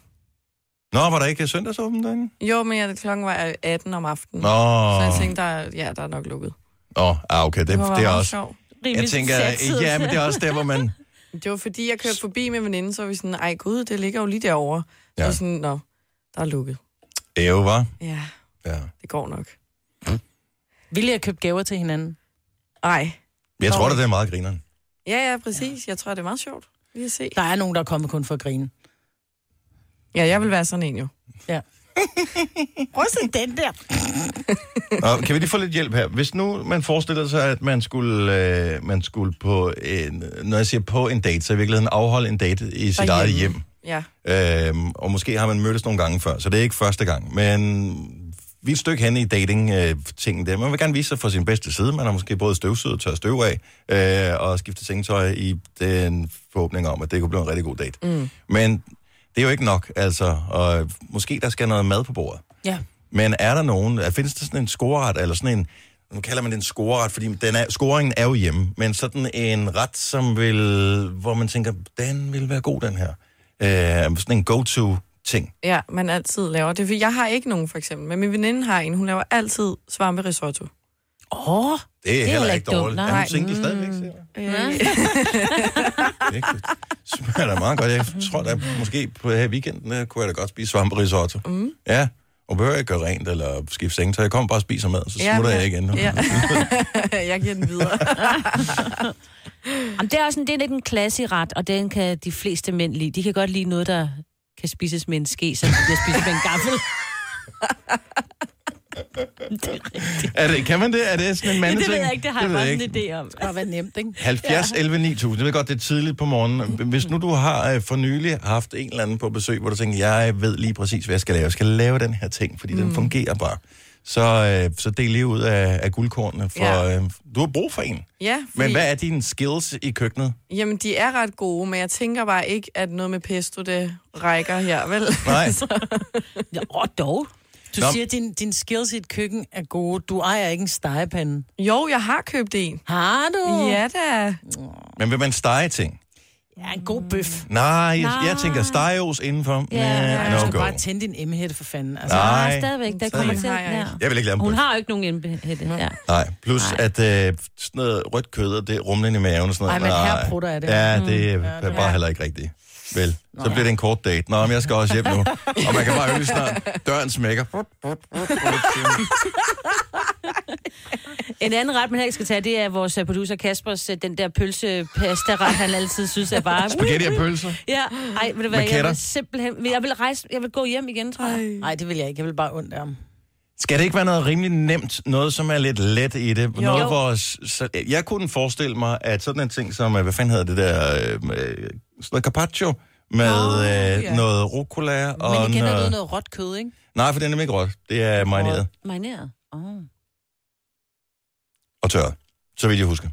S1: Nå, var der ikke søndagsåben derinde?
S4: Jo, men jeg, klokken var 18 om aftenen.
S1: Nå,
S4: Så jeg tænkte, der, er- ja, der er nok lukket.
S1: Nå ah, okay, det,
S4: Det var,
S1: det er
S4: meget
S1: også...
S4: sjovt.
S1: Jeg tænker, øh, ja, men det er også der, hvor man...
S4: Det var fordi, jeg kørte forbi med veninden, så var vi sådan, ej gud, det ligger jo lige derovre. Ja. Så
S1: Ja.
S4: var sådan, nå, der er lukket.
S1: Æve, var.
S4: Ja,
S1: Ja.
S4: det går nok.
S3: Ville jeg købe gaver til hinanden?
S4: Ej.
S1: Jeg tror, det er meget grineren.
S4: Ja, ja, præcis. Jeg tror, det er meget sjovt. Vi kan se.
S3: Der er nogen, der er kommet kun for at grine.
S4: Ja, jeg vil være sådan en jo.
S3: Prøv at se den der.
S1: Nå, kan vi lige få lidt hjælp her? Hvis nu man forestiller sig, at man skulle, øh, man skulle på en, når jeg siger på en date, så i virkeligheden afholde en date i sit eget hjem.
S4: Ja.
S1: Øhm, og måske har man mødtes nogle gange før, så det er ikke første gang. Men vi er et stykke henne i dating-tingen der. Man vil gerne vise sig fra sin bedste side. Man har måske både støvsuget og tørret støv af, øh, og skiftet sengetøj i den forhåbning om, at det kunne blive en rigtig god date. Mm. Men det er jo ikke nok, altså. Og måske der skal noget mad på bordet.
S3: Ja.
S1: Men er der nogen, er- findes der sådan en scoreret, eller sådan en, nu kalder man den scoreret, fordi den er, scoringen er jo hjemme, men sådan en ret, som vil, hvor man tænker, den vil være god, den her. Øh, sådan en go-to-ting.
S4: Ja, man altid laver det. For Jeg har ikke nogen, for eksempel, men min veninde har en. Hun laver altid svamperisotto.
S3: Åh, oh,
S1: Det er, det er heller
S2: heller
S1: ikke
S2: ikke dumt,
S1: dårligt. Er
S4: nej.
S1: hun single
S4: Mm.
S1: stadigvæk, siger jeg?
S4: Ja.
S1: Det er ikke- Det smager da meget godt. Jeg tror da, måske på her i weekenden, øh, kunne jeg da godt spise svamperisotto. Mm. Ja, og behøver ikke gøre rent eller skifte sengetøj. Jeg kommer bare og spiser mad, så
S4: Ja,
S1: smutter
S4: men-
S1: jeg igen.
S4: ja. jeg giver den videre.
S2: Jamen, det er også en, det er lidt en klasseret, og den kan de fleste mænd lide. De kan godt lide noget, der kan spises med en ske, som de bliver spist med en gaffel.
S1: er det, kan man det? Er det sådan en mandeting?
S2: det ved jeg ikke, det har jeg
S1: ved
S2: bare
S1: ikke.
S2: sådan en idé om.
S3: det var nemt, ikke?
S1: 70 ja. 11 9000. Jeg ved godt, det er tidligt på morgenen. Hvis nu du har øh, for nylig haft en eller anden på besøg, hvor du tænker, jeg ved lige præcis, hvad jeg skal lave. Jeg skal lave den her ting, fordi mm. den fungerer bare. Så, øh, så del lige ud af, af guldkornene, for ja.
S4: Ja.
S1: øh, du har brug for en.
S4: Ja,
S1: Men hvad er dine skills i køkkenet?
S4: Jamen, de er ret gode, men jeg tænker bare ikke, at noget med pesto, det rækker her, vel?
S1: Nej.
S2: Ja, åh, dog.
S3: Du
S1: Nå.
S3: Nå. siger, at din, din skills i et køkken er gode. Du ejer ikke en stegepande.
S4: Jo, jeg har købt en.
S3: Har du?
S4: Ja da.
S1: Men vil man stege ting?
S3: Ja, en god bøf.
S1: Nej, jeg, jeg tænker stegeos indenfor.
S2: Ja,
S1: Yeah.
S2: ja.
S1: No
S3: Du skal
S1: go.
S3: bare tænde din emhætte for fanden. Altså,
S1: Nej.
S2: Ja, stadigvæk. Der kommer
S1: Stadigvæk.
S2: til.
S4: Har jeg
S2: Ja.
S1: Jeg vil ikke lave en
S2: Hun
S1: bøf.
S2: har jo ikke nogen indbehætte. Ja.
S1: Nej, plus Nej. at øh, sådan noget rødt kød, og det er rumlen i maven og sådan noget.
S3: Ej, men
S1: Nej.
S3: herprutter er det.
S1: Ja, det er ja, bare heller ikke rigtigt. Vel, så bliver det en kort date. Nå, men jeg skal også hjem nu. Og man kan bare høre lige snart, døren smækker.
S2: En anden ret, man heller ikke skal tage, det er vores øh, producer Kaspers, øh, den der pølsepasta-ret, han altid synes er bare...
S1: Spaghetti og pølser.
S2: Ja, ej, ved du hvad, jeg
S1: Maketter.
S2: vil simpelthen... men Jeg vil rejse, jeg vil gå hjem igen, tror jeg.
S4: Ej.
S3: Nej, det vil jeg ikke. Jeg vil bare ondt af ham.
S1: Skal det ikke være noget rimelig nemt? Noget, som er lidt let i det? Jo. Noget, hvor, så, jeg kunne forestille mig, at sådan en ting som, øh, hvad fanden hedder det der, øh, øh, sådan noget carpaccio, med oh, øh,
S4: ja.
S1: noget rucola og øh,
S3: Men igen er det
S1: noget...
S3: noget råt kød, ikke?
S1: Nej, for den er nemlig ikke råt. Det er marineret.
S2: Marineret. Oh.
S1: og tørret, så vidt jeg husker.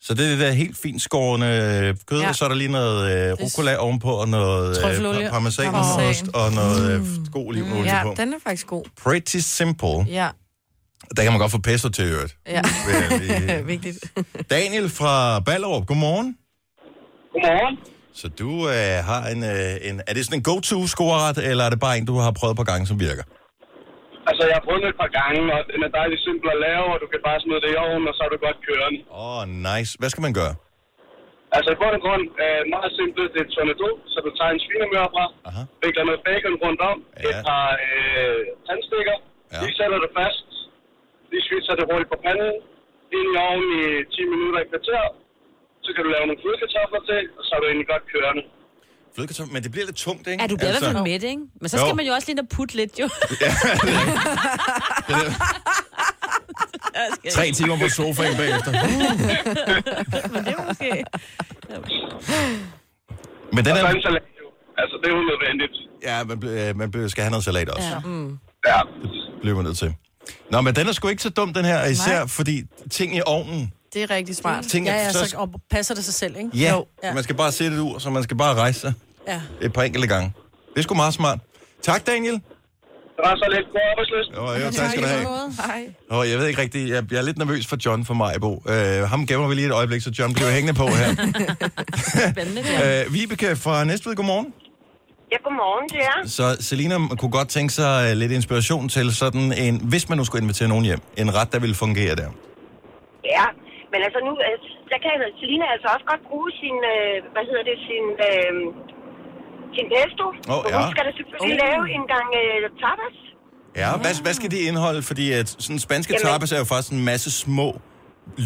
S1: Så det er det der helt fint skårende øh, kød, ja.
S4: Ja.
S1: og så er der lige noget øh, rucola ovenpå, og noget
S3: Trøffelolie.
S1: øh, parmesanost,
S4: Parmesan. Mm.
S1: og noget øh, god olivenolie
S4: Ja,
S1: på. Mm.
S4: den er faktisk god.
S1: Pretty simple.
S4: Ja,
S1: Der kan man godt få pesto til i øvrigt.
S4: ja.
S1: vil jeg lige-
S4: Vigtigt.
S1: Daniel fra Ballerup, godmorgen.
S8: Godmorgen.
S1: Så du øh, har en, øh, en... Er det sådan en go-to-scoreret, eller er det bare en, du har prøvet et par gange, som virker?
S8: Altså, jeg har fundet et par gange, og den er dejligt simpel at lave, og du kan bare smide det i ovnen, og så er du godt kørende.
S1: Åh, oh, nice. Hvad skal man gøre?
S8: Altså i bund og grund, øh, meget simpelt, det er et tornado, så du tager en svinemør fra,
S1: Aha.
S8: vikler noget bacon rundt om,
S1: Ja.
S8: ja. et par øh, tandstikker,
S1: Ja.
S8: ja. lige sætter det fast, lige svitser det hurtigt på panden, ind i ovnen i 10 minutter i kvarter, så kan du lave nogle flødekartofler til, og så er du egentlig godt kørende.
S1: Flødekartoffel, men det bliver lidt tungt, ikke? Altså-
S2: Ja, du bliver i hvert fald mæt, ikke? Men så
S1: Jo.
S2: skal man jo også lige ind og putte lidt, jo.
S1: Tre timer på sofaen bagefter. Uh.
S2: Men det er okay.
S1: Men den
S8: Og så
S1: er,
S8: en salat jo. Altså det er jo nødvendigt.
S1: ja, man, bl- øh, man bl- skal have noget salat også.
S2: Ja.
S8: Ja.
S1: Bliver man nødt til. Nå, men den er sgu ikke så dum, den her. Især fordi ting i ovnen.
S4: Det er rigtig smart.
S1: Ting,
S3: Ja, ja,
S1: så,
S3: så og passer det sig selv, ikke?
S1: ja,
S3: Ja.
S1: man skal bare sætte det ud, så man skal bare rejse sig
S3: Ja.
S1: et par enkelte gange. Det er sgu meget smart. Tak, Daniel.
S8: Det var så lidt god arbejdsløst.
S1: Jo, jo, tak skal du have.
S4: Hej.
S1: Og jeg ved ikke rigtigt, jeg, jeg er lidt nervøs for John for Majbo. Uh, ham gemmer vi lige et øjeblik, så John bliver hængende på her.
S2: Spændende.
S1: uh, Vibeke fra Næstved, godmorgen.
S9: Ja, godmorgen til jer.
S1: Så Selina kunne godt tænke sig øh, lidt inspiration til sådan en, hvis man nu skulle invitere nogen hjem, en ret, der ville fungere der.
S9: Ja, men altså nu, øh, der kan Selina altså også godt bruge sin, øh, hvad hedder det, sin, øh, sin pesto.
S1: Åh,
S9: Og
S1: ja.
S9: Hun skal da selvfølgelig lave en gang øh, tapas.
S1: Ja, hvad, hvad skal det indeholde? Fordi at sådan spanske
S9: Jamen-
S1: tapas er jo faktisk en masse små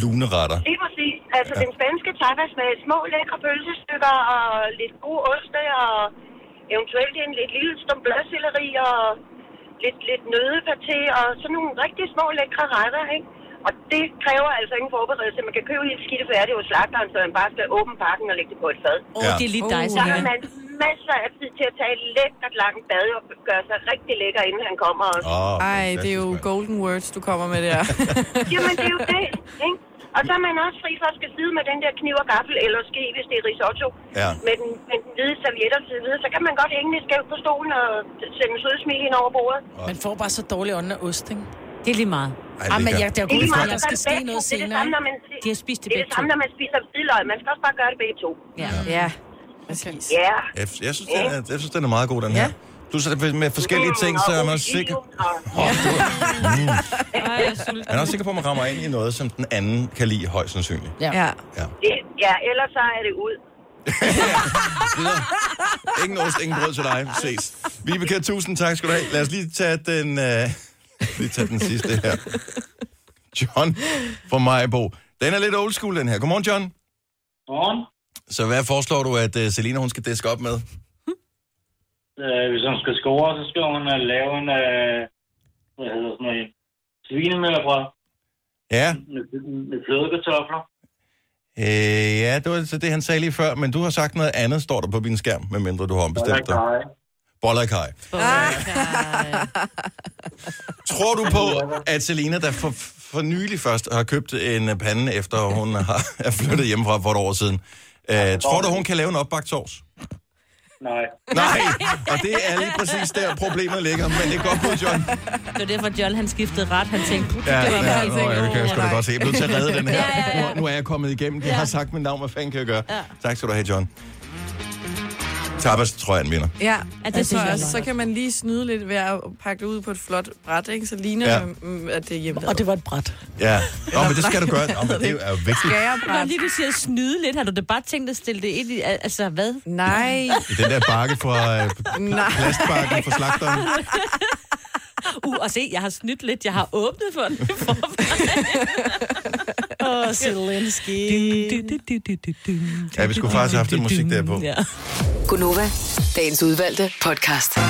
S1: luneretter.
S9: Lige præcis. Altså den spanske tapas med små lækre pølsestykker og lidt gode oste og eventuelt en lidt lille stump blåselleri og lidt, lidt nødepaté og sådan nogle rigtig små lækre retter, ikke? Og det kræver altså ingen forberedelse. Man kan købe helt skidte færdigt hos slagteren, så man bare skal åbne pakken og lægge det på et fad.
S2: Åh,
S1: Ja.
S2: det er lige dig,
S9: Så har
S2: Selina.
S9: man masser af tid til at tage et lækkert langt bad og gøre sig rigtig lækker, inden han kommer. Og...
S1: Oh,
S4: Ej, det er jo golden words, du kommer med der.
S9: Jamen, det er jo det, ikke? Og så er man også fri for at skal sidde med den der kniv og gaffel, eller ske, hvis det er risotto,
S1: Ja.
S9: med, den, med den hvide serviet og så videre. Så kan man godt hænge lidt skævt på stolen og sende en sød smil ind over bordet.
S3: Man får bare så dårlig ånd af ost, ikke?
S2: Det er lige meget.
S3: Ej, Ah, men jeg, jeg
S9: Det er
S3: går ud
S9: lige
S3: fra,
S9: meget,
S3: at
S9: man
S3: der
S9: gør
S3: skal
S9: det
S3: ske
S9: begge to.
S3: noget
S9: Det er det
S3: senere.
S9: samme,
S3: ikke?
S9: når man,
S2: De har spist det
S9: det, er
S2: begge
S9: det samme,
S2: to.
S9: når man spiser hvidløg. Man skal også bare gøre det begge to.
S2: Ja.
S4: ja, præcis.
S9: Ja.
S1: Jeg, jeg, synes, den er, jeg synes, den er meget god, den her. Du så det med forskellige ting, så er man også sikker.
S9: Ja.
S2: Ej, jeg er sulten.
S1: Man er også sikker på, at man rammer ind i noget, som den anden kan lide højst sandsynligt.
S4: Ja.
S1: Ja.
S9: ja, ellers så er det ud.
S1: Videre. Ingen ost, ingen brød til dig. Ses. Vibeke, tusind tak skal du have. Lad os lige tage den, øh, lige tage den sidste her. John fra Majbo. Den er lidt old school, den her. Godmorgen, John.
S8: Godmorgen.
S1: Så hvad foreslår du, at øh, Selina hun skal diske op med?
S8: Øh, hvis hun skal score, så skal hun øh, lave en, øh, hvad hedder sådan noget, svinemøllebrød
S1: Ja,
S8: med, med flødekartofler.
S1: øh, ja det var så det, han sagde lige før, men du har sagt noget andet, står der på min skærm, medmindre du har ombestemt dig.
S8: Nej,
S1: Boller i kaj. Tror du på, at Selina, der for, for nylig først har købt en øh, pande, efter hun har, er flyttet hjemmefra for et år siden, øh, tror du, hun kan lave en opbagt sovs?
S8: nej.
S1: Nej, og det er lige præcis der, problemet ligger, men det er godt på, John.
S2: Det var derfor, John han skiftede ret. Han tænkte, "Puh, det var
S1: ja,
S2: faktisk
S1: nå,
S2: ikke
S1: jeg kan
S2: nogen."
S1: jeg sgu da godt se. Jeg blev til at redde den her.
S2: Ja, ja, ja.
S1: Nu, nu er jeg kommet igennem. De har sagt mit navn. Hvad fanden kan jeg gøre? Tak skal du have, John. Tapas, tror jeg, han vinder.
S4: Ja,
S2: det
S4: altså,
S2: synes jeg
S4: også,
S2: er
S4: så
S2: godt.
S4: kan man lige snyde lidt ved at pakke det ud på et flot bræt, ikke? Så ligner
S1: Ja.
S4: ja. at det er hjemme.
S3: Og det var et bræt.
S1: Ja. Nå, men det skal du gøre. Nå, men det er jo vigtigt.
S2: Når
S4: gærebræt.
S2: lige du siger snyde lidt, har du da bare tænkt at stille det ind i... Altså, hvad?
S4: Nej,
S1: I den der bakke fra øh,
S4: nej.
S1: plastbakken fra slagteren.
S2: Uh, og se, jeg har snydt lidt. Jeg har åbnet for den.
S3: Åh, Zelensky.
S1: Ja, vi skulle faktisk have haft lidt musik der på.
S2: Ja.
S6: Gunova, dagens udvalgte podcast.
S1: 9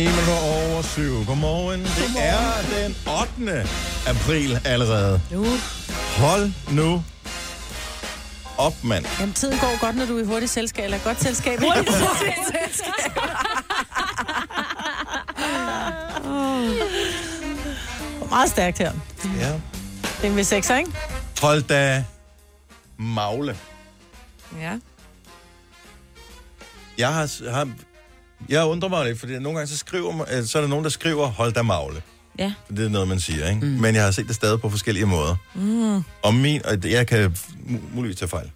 S1: minutter over 7. Godmorgen. Det er den 8. april allerede.
S3: Nu.
S1: Hold nu op, mand.
S3: Jamen, tiden går godt, når du er i hurtigt selskab, eller godt selskab. ikke? Åh. Meget stærkt her.
S1: Ja.
S3: Det er med sekser, ikke?
S1: Hold da magle.
S4: Ja.
S1: Jeg har, har jeg undrer mig lidt, fordi nogle gange så, skriver, man- øh, så er der nogen, der skriver, hold da magle.
S2: Ja.
S1: For det er noget, man siger, ikke? Mm. Men jeg har set det stadig på forskellige måder. Mm. Og min, og jeg kan mu- muligvis tage fejl.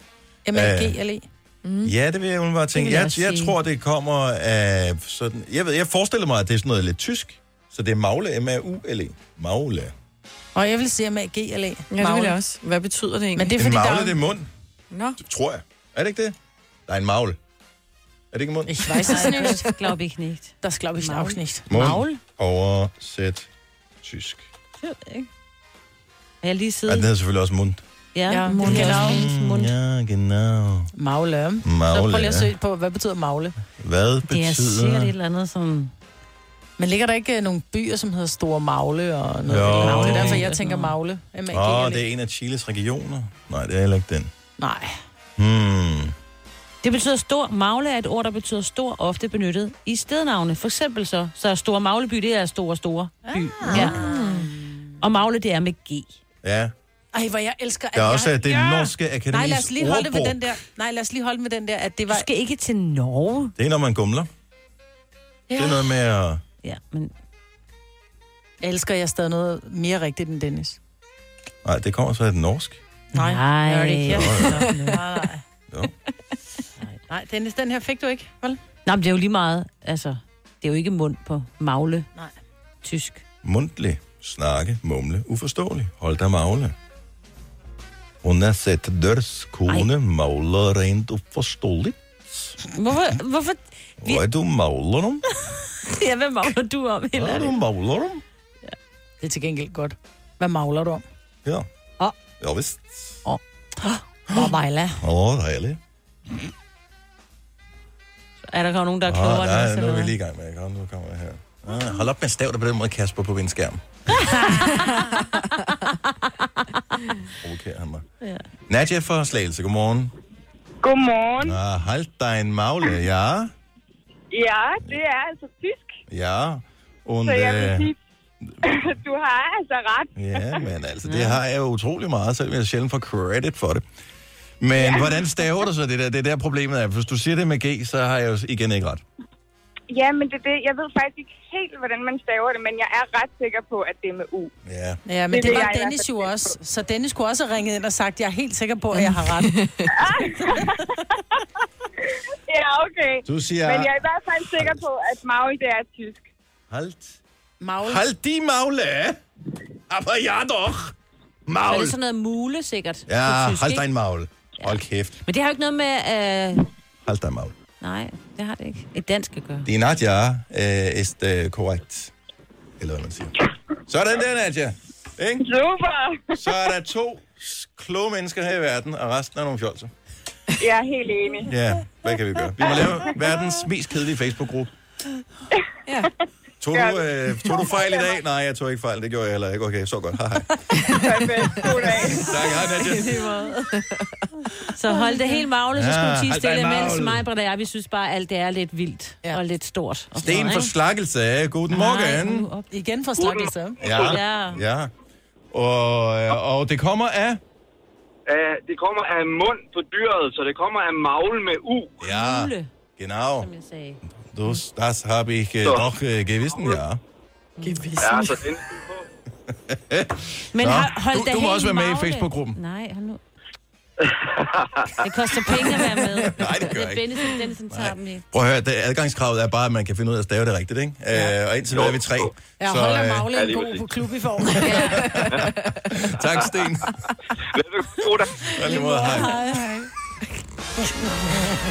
S3: MLG,
S1: Øh.
S3: eller Mm.
S1: Ja, det vil jeg umiddelbart tænke.
S2: vil jeg
S1: Jeg,
S2: også
S1: jeg,
S2: sige.
S1: tror, det kommer af sådan... Jeg, ved, jeg forestiller mig, at det er sådan noget lidt tysk. Så det er Magle, M-A-U-L-E. E. Magle.
S3: Og jeg vil sige MLG, eller
S4: ja, det vil jeg også. Hvad betyder det egentlig?
S3: Men det er
S1: Det
S3: fordi,
S1: magle,
S3: der
S1: det
S3: er,
S1: er mund.
S4: Nå.
S1: Tror jeg. Er det ikke det? Der er en maul. Er det ikke en mund?
S2: Ich weiß es nicht. Ich glaube ich nicht.
S3: Das glaube ich
S2: Maul.
S3: auch nicht.
S1: Mund.
S2: Maul?
S1: Oversæt tysk.
S2: Jeg ved ikke. Har jeg lige
S1: Ja, den
S2: siddet?
S1: hedder selvfølgelig også mund.
S2: Ja,
S3: Ja,
S2: mund.
S3: genau.
S2: Mund.
S1: Ja, genau.
S3: Magle.
S1: Magle,
S3: Så prøv lige at
S1: ja.
S3: søge på, hvad betyder magle?
S1: Hvad
S2: Det er sikkert et
S1: betyder...
S2: eller andet, som...
S3: Men ligger der ikke øh, nogle byer, som hedder Store Magle og noget?
S1: Jo.
S3: Magle. Det er derfor, jeg tænker Magle.
S1: Åh, oh, det er en af Chiles regioner. Nej, det er heller ikke den.
S3: Nej.
S1: Hmm.
S2: Det betyder stor. Magle er et ord, der betyder stor, ofte benyttet i stednavne. For eksempel så, så er Store Magleby, det er Store Store By.
S3: Ah.
S2: Ja. Og Magle, det er med G.
S1: Ja,
S3: Ej, hvor jeg elsker, at
S1: der er
S3: jeg...
S1: også øh, det norske
S3: Nej,
S1: akademis
S3: lad os lige holde det ved
S1: ordbog.
S3: den der. Nej, lad os lige holde med den der, at det
S2: Du
S3: var...
S2: skal ikke til Norge.
S1: Det er, når man gumler. Det er noget med at...
S2: Ja, men
S3: Jeg elsker jeg stadig noget mere rigtigt end Dennis.
S1: Nej, det kommer så af den norsk.
S3: Nej.
S2: Nej.
S3: Jeg er det ikke. Jeg-
S1: Nå,
S3: Nej, nej.
S1: Jo.
S3: Nej, Dennis, den her fik du ikke, vel?
S2: Nej, men det er jo lige meget, altså, det er jo ikke mund på magle.
S3: Nej.
S2: Tysk.
S1: Mundtlig, snakke, mumle, uforståelig. Hold da magle. Hun har set dørs kone magle rent uforståeligt.
S2: Hvorfor, hvorfor,
S1: Hvad er du magler om?
S2: ja, hvad magler du om,
S1: Hvad er
S2: eller?
S1: du magler om?
S3: Det er til gengæld godt. Hvad magler du om?
S1: Ja.
S2: Åh.
S1: Ja, vist.
S3: Åh, Vejla.
S1: Åh, dejligt.
S2: Er der nogen, der er
S1: Ah,
S2: klogere end os,
S1: nej, nu
S2: eller
S1: er vi
S2: hvad?
S1: lige i gang med. Kom, nu kommer jeg her. Ah, hold op med stav, der på den måde Kasper på min skærm. Provokerer han mig. Ja. Nadja fra Slagelse, godmorgen.
S9: Godmorgen.
S1: Ah, hold dig en magle, ja.
S9: Ja, det er altså tysk,
S1: Ja. Und,
S9: så jeg vil
S1: øh,
S9: sige, du har altså ret.
S1: ja, men altså, det har jeg jo utrolig meget, selvom jeg sjældent får credit for det. Men hvordan staver du så det der? Det er der problemet er. Hvis du siger det med G, så har jeg jo igen ikke ret.
S9: Ja, men det er det. Jeg ved faktisk ikke helt, hvordan man staver det, men jeg er ret sikker på, at det er med U.
S1: Ja.
S3: Ja, men det,
S9: Det vil
S3: var
S9: jeg i hvert
S3: Dennis
S9: fald
S3: jo
S9: tænke
S3: også. Så Dennis kunne også have ringet ind og sagt, jeg er helt sikker på, at jeg har ret.
S9: Ja, okay.
S1: Du siger...
S9: Men jeg er i hvert fald sikker på, at Maul, det er tysk.
S1: Halt.
S3: Magle.
S1: Halt de magle! Aber ja doch!
S2: Så er
S1: Maul!
S2: det sådan noget mule, sikkert.
S1: Ja,
S2: på tysk,
S1: hold
S2: ikke?
S1: dig en maul. Hold kæft.
S2: Men det har jo ikke noget med... Øh...
S1: Hold dig en maul.
S2: Nej, det har det ikke. Et dansk at gøre.
S1: Din Nadja øh, er øh, korrekt. Eller hvad man siger. Sådan der, Nadja. Ikke?
S9: Super!
S1: Så er der to s- kloge mennesker her i verden, og resten er nogle fjolser.
S9: Jeg er helt enig.
S1: Ja, hvad kan vi gøre? Vi må lave verdens mest kedelige Facebook-gruppe.
S4: Ja.
S1: Tog du, øh, tog du fejl i dag? Nej, jeg tog ikke fejl. Det gjorde jeg heller ikke. Okay, så godt. Hej, hej.
S9: Perfekt. God dag.
S1: Tak, hej, Nadja.
S2: Så hold det helt magle, så
S1: Ja,
S2: skulle du tige
S1: hold dig
S2: stille, mens
S1: magle.
S2: mig, Britt og jeg, vi synes bare, at alt det er lidt vildt
S3: Ja.
S2: og lidt stort. Og
S1: Sten for slakkelse. Guten Morgen.
S2: op.
S3: Igen fra Slakkelse.
S1: Ja.
S2: Ja.
S1: ja. Og, øh, og det kommer af?
S8: Uh, det kommer af mund på dyret, så det kommer af magle med u.
S1: Ja,
S2: Fugle.
S1: genau.
S2: Som jeg sagde.
S1: Das, das habe ich äh,
S8: So.
S1: noch äh, gewissen, ja.
S8: Ja, så den på.
S2: Men
S1: Nå,
S2: har, hold
S1: du-
S2: da
S1: du må
S2: helt
S1: også være med i
S2: magle.
S1: Facebook-gruppen.
S2: Nej, hold nu. det koster penge at være med.
S1: Nej, det gør
S2: Det er
S1: ikke.
S2: Dennis, Dennis tager dem i.
S1: Prøv at høre, det, adgangskravet er bare, at man kan finde ud af at stave det rigtigt, ikke? Ja. Øh, og indtil nu er vi tre.
S3: Ja, hold da
S1: øh,
S3: Magle
S8: ja,
S3: en
S8: lige
S3: god
S8: præcis.
S3: på klub i form.
S1: tak, Sten.
S8: Velbekomme. God dag.
S1: Og lige måde, hej.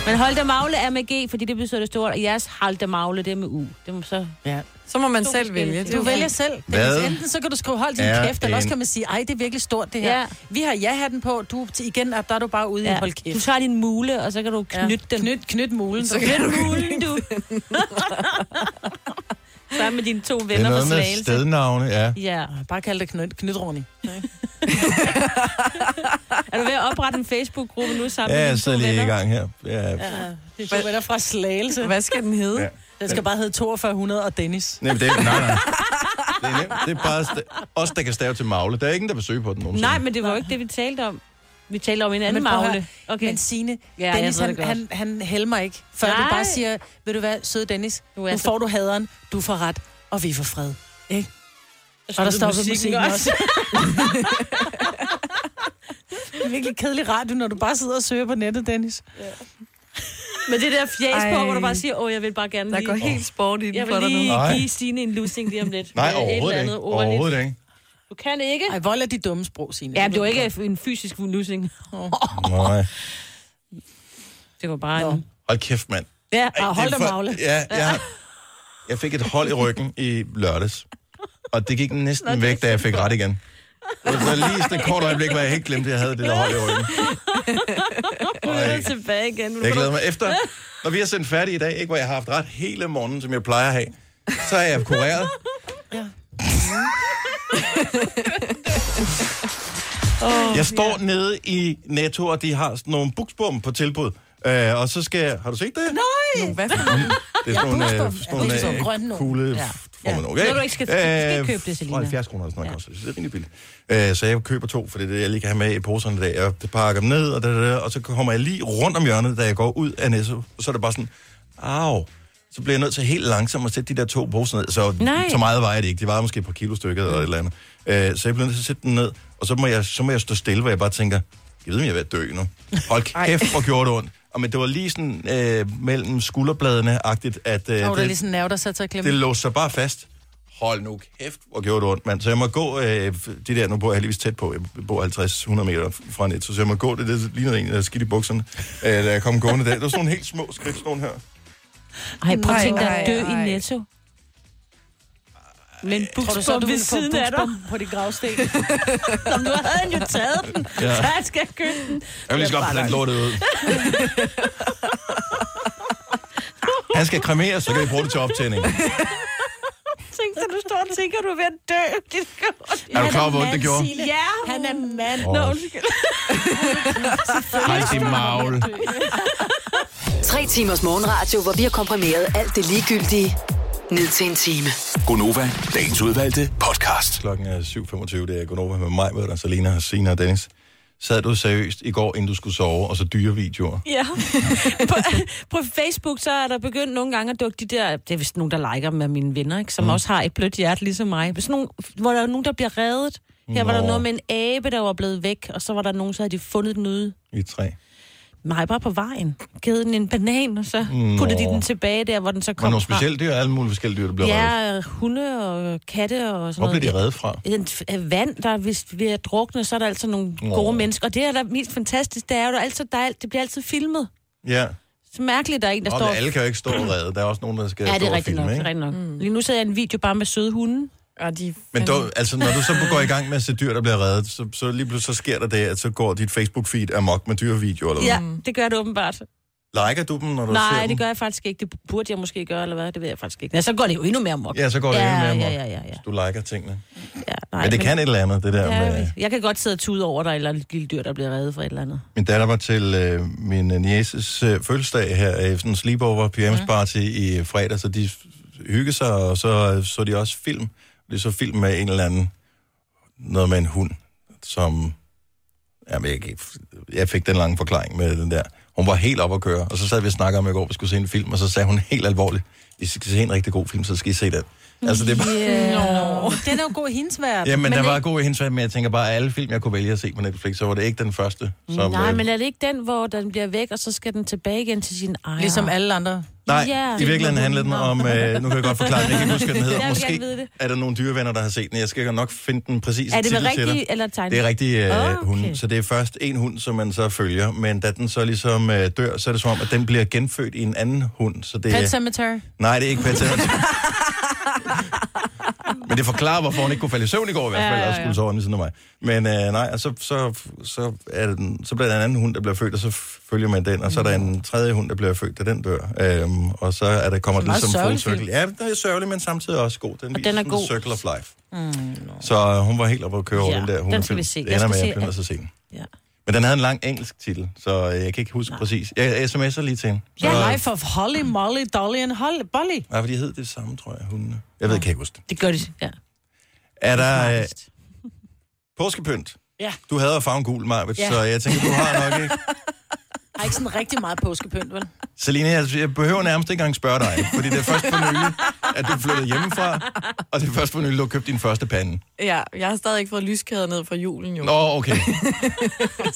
S2: Men hold da magle er med G, fordi det betyder det store. Og jeres hold da magle, det er med U. Det må så...
S3: Ja.
S4: Så må man selv vælge. Det er
S3: Du
S4: jo
S3: vælger selv.
S1: Hvad
S3: Dennis. Enten så kan du skrive, hold din
S1: er
S3: kæft, eller også
S1: en-
S3: kan man sige, ej, det er virkelig stort det her.
S2: Ja.
S3: Vi har ja-hatten på, du er til- igen, og der er du bare ude i
S2: Ja.
S3: hold
S2: Du
S3: kæft.
S2: tager din mule, og så kan du knytte ja. den.
S3: Knyt, knyt mulen. Så
S2: Knyt mulen, du. Sammen med dine to
S1: Det er
S2: venner på
S1: noget med
S2: slagelse.
S1: stednavne, ja.
S2: Ja.
S3: Bare kald det knyt, knyt Ronny.
S2: Er du ved at oprette en Facebook-gruppe nu sammen
S1: Ja,
S2: med
S1: jeg
S2: dine to
S1: sidder lige i
S2: venner?
S1: gang her. Ja.
S3: Det er to venner fra Slagelse.
S4: Hvad skal den hedde?
S1: Ja.
S3: Den skal bare hedde 4200 og Dennis.
S1: Nej, det, er- nej, nej. Det er nemt. Det er bare sta- os, der kan stave til magle. Der er ingen, der vil søge på den nogensinde.
S2: Nej, men det var jo ikke det, vi talte om. Vi talte om en anden
S3: prøv at høre,
S2: magle. Okay.
S3: Men Signe,
S2: Ja,
S3: ja,
S2: jeg
S3: Dennis,
S2: ved det
S3: han,
S2: godt.
S3: han, han helmer ikke. Før
S2: Nej.
S3: du bare siger, ved du hvad, søde Dennis,
S2: Du
S3: nu,
S2: er altså- så-
S3: nu får du haderen, du får ret, og vi får fred. Ikke? Og der stopper musikken, musikken også. det er virkelig kedelig radio, når du bare sidder og søger på nettet, Dennis.
S2: Men det der fjæs på,
S4: Ej.
S2: hvor du bare siger, åh, jeg vil bare gerne
S4: Der
S2: lige...
S4: går helt sport i den
S2: Jeg vil
S4: for dig nu.
S2: lige
S1: Nej.
S2: give Signe en lussing lige om lidt.
S1: nej
S2: Med et eller
S1: overhovedet ikke.
S2: andet ordentligt.
S1: Overhovedet ikke.
S2: Du kan ikke.
S3: Ej, vold er de dumme sprog, Signe.
S2: Ja, men det var ikke en fysisk lussing.
S1: Nej.
S2: Det var bare en...
S1: Hold kæft, mand.
S2: Ja,
S1: Ej,
S2: og hold
S1: det er
S2: da
S1: for-
S2: magle.
S1: Ja, jeg, jeg fik et hold i ryggen i lørdags. Og det gik næsten Nå, væk, da jeg fik ret igen. Det var lige sådan et kort øjeblik, hvor jeg helt glemte, at jeg havde det der hold i ryggen. Ej,
S2: tilbage igen.
S1: jeg glæder mig efter, når vi har sendt færdig i dag, ikke, hvor jeg har haft ret hele morgenen, som jeg plejer at have, så er jeg kureret. Jeg står nede i Netto, og de har sådan nogle buksbom på tilbud. Øh, og så skal jeg... Har du set det? Nej!
S4: Nogle hvad for nogle?
S1: Det er sådan nogle, øh, sådan nogle
S3: buksbom.
S1: øh,
S3: Grønne nogle.
S1: kugle
S3: Ja.
S1: former nogle,
S2: Når du ikke skal- du skal ikke købe det, Selina.
S1: Øh, 70 kroner eller sådan noget koster det, så det er rimelig billigt. Øh, så jeg køber to, for det er det, jeg lige kan have med i poserne i dag. Jeg pakker dem ned, og, da, da, da, og så kommer jeg lige rundt om hjørnet, da jeg går ud af Netto. Og så er det bare sådan, au. Så bliver jeg nødt til helt langsomt at sætte de der to poser ned. Så,
S2: Nej.
S1: så meget vejer det ikke. De vejer måske et par kilo stykket eller et eller andet. Øh, så jeg bliver nødt til at sætte den ned, og så må jeg, så må jeg stå stille, hvor jeg bare tænker, jeg ved, om jeg er ved at dø nu. Hold kæft, hvor gjorde det ondt. Og, men det var lige sådan øh, mellem skulderbladene-agtigt, at... Øh,
S3: Nå, der er ligesom- lige sådan en nerve, der satte sig og klemme.
S1: det låste sig bare fast. Hold nu kæft, hvor gjorde det ondt, mand. Så jeg må gå, øh, det der, nu bor jeg heldigvis tæt på, jeg bor 50-100 meter fra net, så jeg må gå, det, det lignede en, der havde skidt i bukserne, øh, da jeg kom gående der. Det var sådan nogle helt små skridt, sådan nogle her.
S2: Ej, prøv at
S4: Nej,
S2: tænke dig at
S4: nej,
S2: dø i
S4: nej.
S2: Netto. Men
S3: Tror du så, du
S2: buksbom ved
S3: ville få
S2: siden af dig.
S3: buksbom på dit gravsten?
S2: Om du havde han jo taget den,
S1: Ja.
S2: ja. så han skal købe den.
S1: Jeg vil lige så godt plante lortet ud. Han skal kremeres, så kan vi bruge det til optænding.
S2: Tænk, så du står og tænker, du er ved at dø. Det skal
S1: Er du klar over, hvor ondt det gjorde?
S2: Ja, han er mand.
S1: Nå, undskyld. Hold din magle.
S6: Tre timers morgenradio, hvor vi har komprimeret alt det ligegyldige ned til en time.
S7: Gonova, dagens udvalgte podcast.
S1: Klokken er 7.25, det er Gunova med mig, med dig, Selina, Sina og Dennis. Sad du seriøst i går, inden du skulle sove, og så dyre videoer?
S2: Ja. På, på Facebook, så er der begyndt nogle gange at dukke de der... Det er vist nogen, der liker med mine venner, ikke? som mm. også har et blødt hjerte ligesom mig. Sådan nogle, hvor der er nogen, der bliver reddet. Her var
S1: Nå.
S2: der noget med en abe, der var blevet væk, og så var der nogen, så havde de fundet den ude
S1: Vi er tre.
S2: mig bare på vejen. Givet den en banan, og så puttede de den tilbage der, hvor den så
S1: Var
S2: kom
S1: nogle
S2: fra.
S1: specielle dyr, alle mulige forskellige dyr, der blev reddet?
S2: Ja, hunde og katte og sådan
S1: Hvor blev
S2: noget.
S1: de reddet fra?
S2: en f- øh, vand, der hvis vi er drukne, så er der altså nogle
S1: Nå.
S2: gode mennesker. Og det, der er der mest fantastisk, det er jo, der er altid, der er, alt- det bliver altid filmet.
S1: Ja.
S2: Så mærkeligt, der er en, der
S1: Nå,
S2: står...
S1: men alle kan jo ikke stå og redde. Der er også nogen, der skal
S2: ja, det
S1: stå
S2: er
S1: og
S2: rigtigt
S1: filme,
S2: nok. Det
S1: ikke?
S2: er rigtigt nok. Mm. Lige nu sidder jeg i en video bare med søde hunde.
S4: Og de
S1: Men dog, altså, når du så går i gang med at se dyr, der bliver reddet, så, så lige pludselig så sker der det, at så går dit Facebook-feed amok med dyrevideoer. Eller
S2: Ja,
S1: ja.
S2: det gør det åbenbart.
S1: Liker du dem, når Mm. du ser
S2: Nej,
S1: dem?
S2: det gør jeg faktisk ikke. Det burde jeg måske gøre, eller hvad? Det ved jeg faktisk ikke. Ja, så går det jo endnu mere amok.
S1: Ja, så går det
S2: ja,
S1: endnu mere amok.
S2: Ja, ja, ja, ja.
S1: Du liker tingene.
S2: ja nej,
S1: Men det kan et eller andet, det der
S2: Ja,
S1: med...
S2: jeg kan godt sidde og tude over dig, eller et lille dyr, der bliver reddet fra et eller andet.
S1: Min datter var til øh, min øh, nieces øh, fødselsdag her, øh, sådan en sleepover pyjamas
S2: Mhm.
S1: party i fredag, så de hyggede sig, og så øh, så de også film. De så film med en eller anden, noget med en hund, som... Jamen, jeg, kan ikke- jeg fik den lange forklaring med den der. Hun var helt op at køre, og så sad vi og snakkede om i går, at vi skulle se en film, og så sagde hun helt alvorligt, hvis I skal se en rigtig god film, så skal I se den. Altså, det er bare...
S3: Nå, den er jo god i hendes verden.
S1: Jamen, der var
S3: ikke-
S1: god i hendes verden, men jeg tænker bare, at alle film, jeg kunne vælge at se på Netflix, så var det ikke den første. Som,
S2: Nej,
S1: øh,
S2: men er det ikke den, hvor den bliver væk, og så skal den tilbage igen til sin ejer?
S3: Ligesom alle andre.
S1: Nej,
S2: Ja.
S1: yeah. i virkeligheden handlede den om, øh, nu kan jeg godt forklare den, jeg kan ikke huske, hvad den hedder.
S2: Jeg vil gerne vide
S1: Måske
S2: det.
S1: er der nogle dyrevenner, der har set den. Jeg skal nok finde den præcise
S2: Er det med
S1: titel til
S2: rigtige
S1: dig.
S2: eller tegnet?
S1: Det er rigtig øh,
S2: Ah,
S1: okay.
S2: okay.
S1: hund. Så det er først en hund, som man så følger, men da den så ligesom øh, dør, så er det som om, at den bliver genfødt i en anden hund. Så det,
S3: Pet Cemetery.
S1: Nej, det er ikke Pet Sematary. Men det forklarer, hvorfor hun ikke kunne falde i søvn i går i hvert fald, ja, ja, ja. og skulle sove ved siden af mig. Men øh, nej, og så, så, så, er den, så bliver der en anden hund, der bliver født, og så følger man den, og så er der
S2: Mm.
S1: en tredje hund, der bliver født, og den dør. Øhm, og så er der, kommer det
S3: meget
S1: ligesom full
S3: sørgelig
S1: circle. Ja, den er sørgelig, men samtidig også god. Den, viser
S2: den er
S1: sådan
S2: god.
S1: Circle of life. Mm, no. Så øh, hun var helt oppe at køre over
S2: Ja,
S1: den der
S2: den
S1: hun
S2: skal vi se.
S1: Det
S2: Jeg
S1: ender
S2: skal
S1: med, at
S2: se
S1: jeg begynder
S2: alt.
S1: at se den.
S2: Ja.
S1: Men den havde en lang engelsk titel, så øh, jeg kan ikke huske nej. præcis. Jeg sms'er lige til hende. Så,
S3: Ja, Life of Holly, Molly, Dolly and Holly. Bolly.
S1: Nej, for de hed det samme, tror jeg, hundene. Jeg ved, jeg kan ikke huske det.
S2: Det gør de, ja.
S1: Er der, øh,
S2: Smartest.
S1: Påskepynt.
S3: Ja.
S1: Du hader farven gul, Marvitt, ja.
S3: Ja.
S1: så jeg tænker, du har nok ikke.
S3: Der er ikke sådan rigtig meget påskepynt, vel?
S1: altså, Selina, jeg, jeg behøver nærmest ikke engang spørge dig, fordi det er først for nylig, at du flyttede hjemmefra, og det er først for nylig, du har købt din første pande.
S4: Ja, jeg har stadig ikke fået lyskæder ned fra julen jo.
S1: Nå, okay.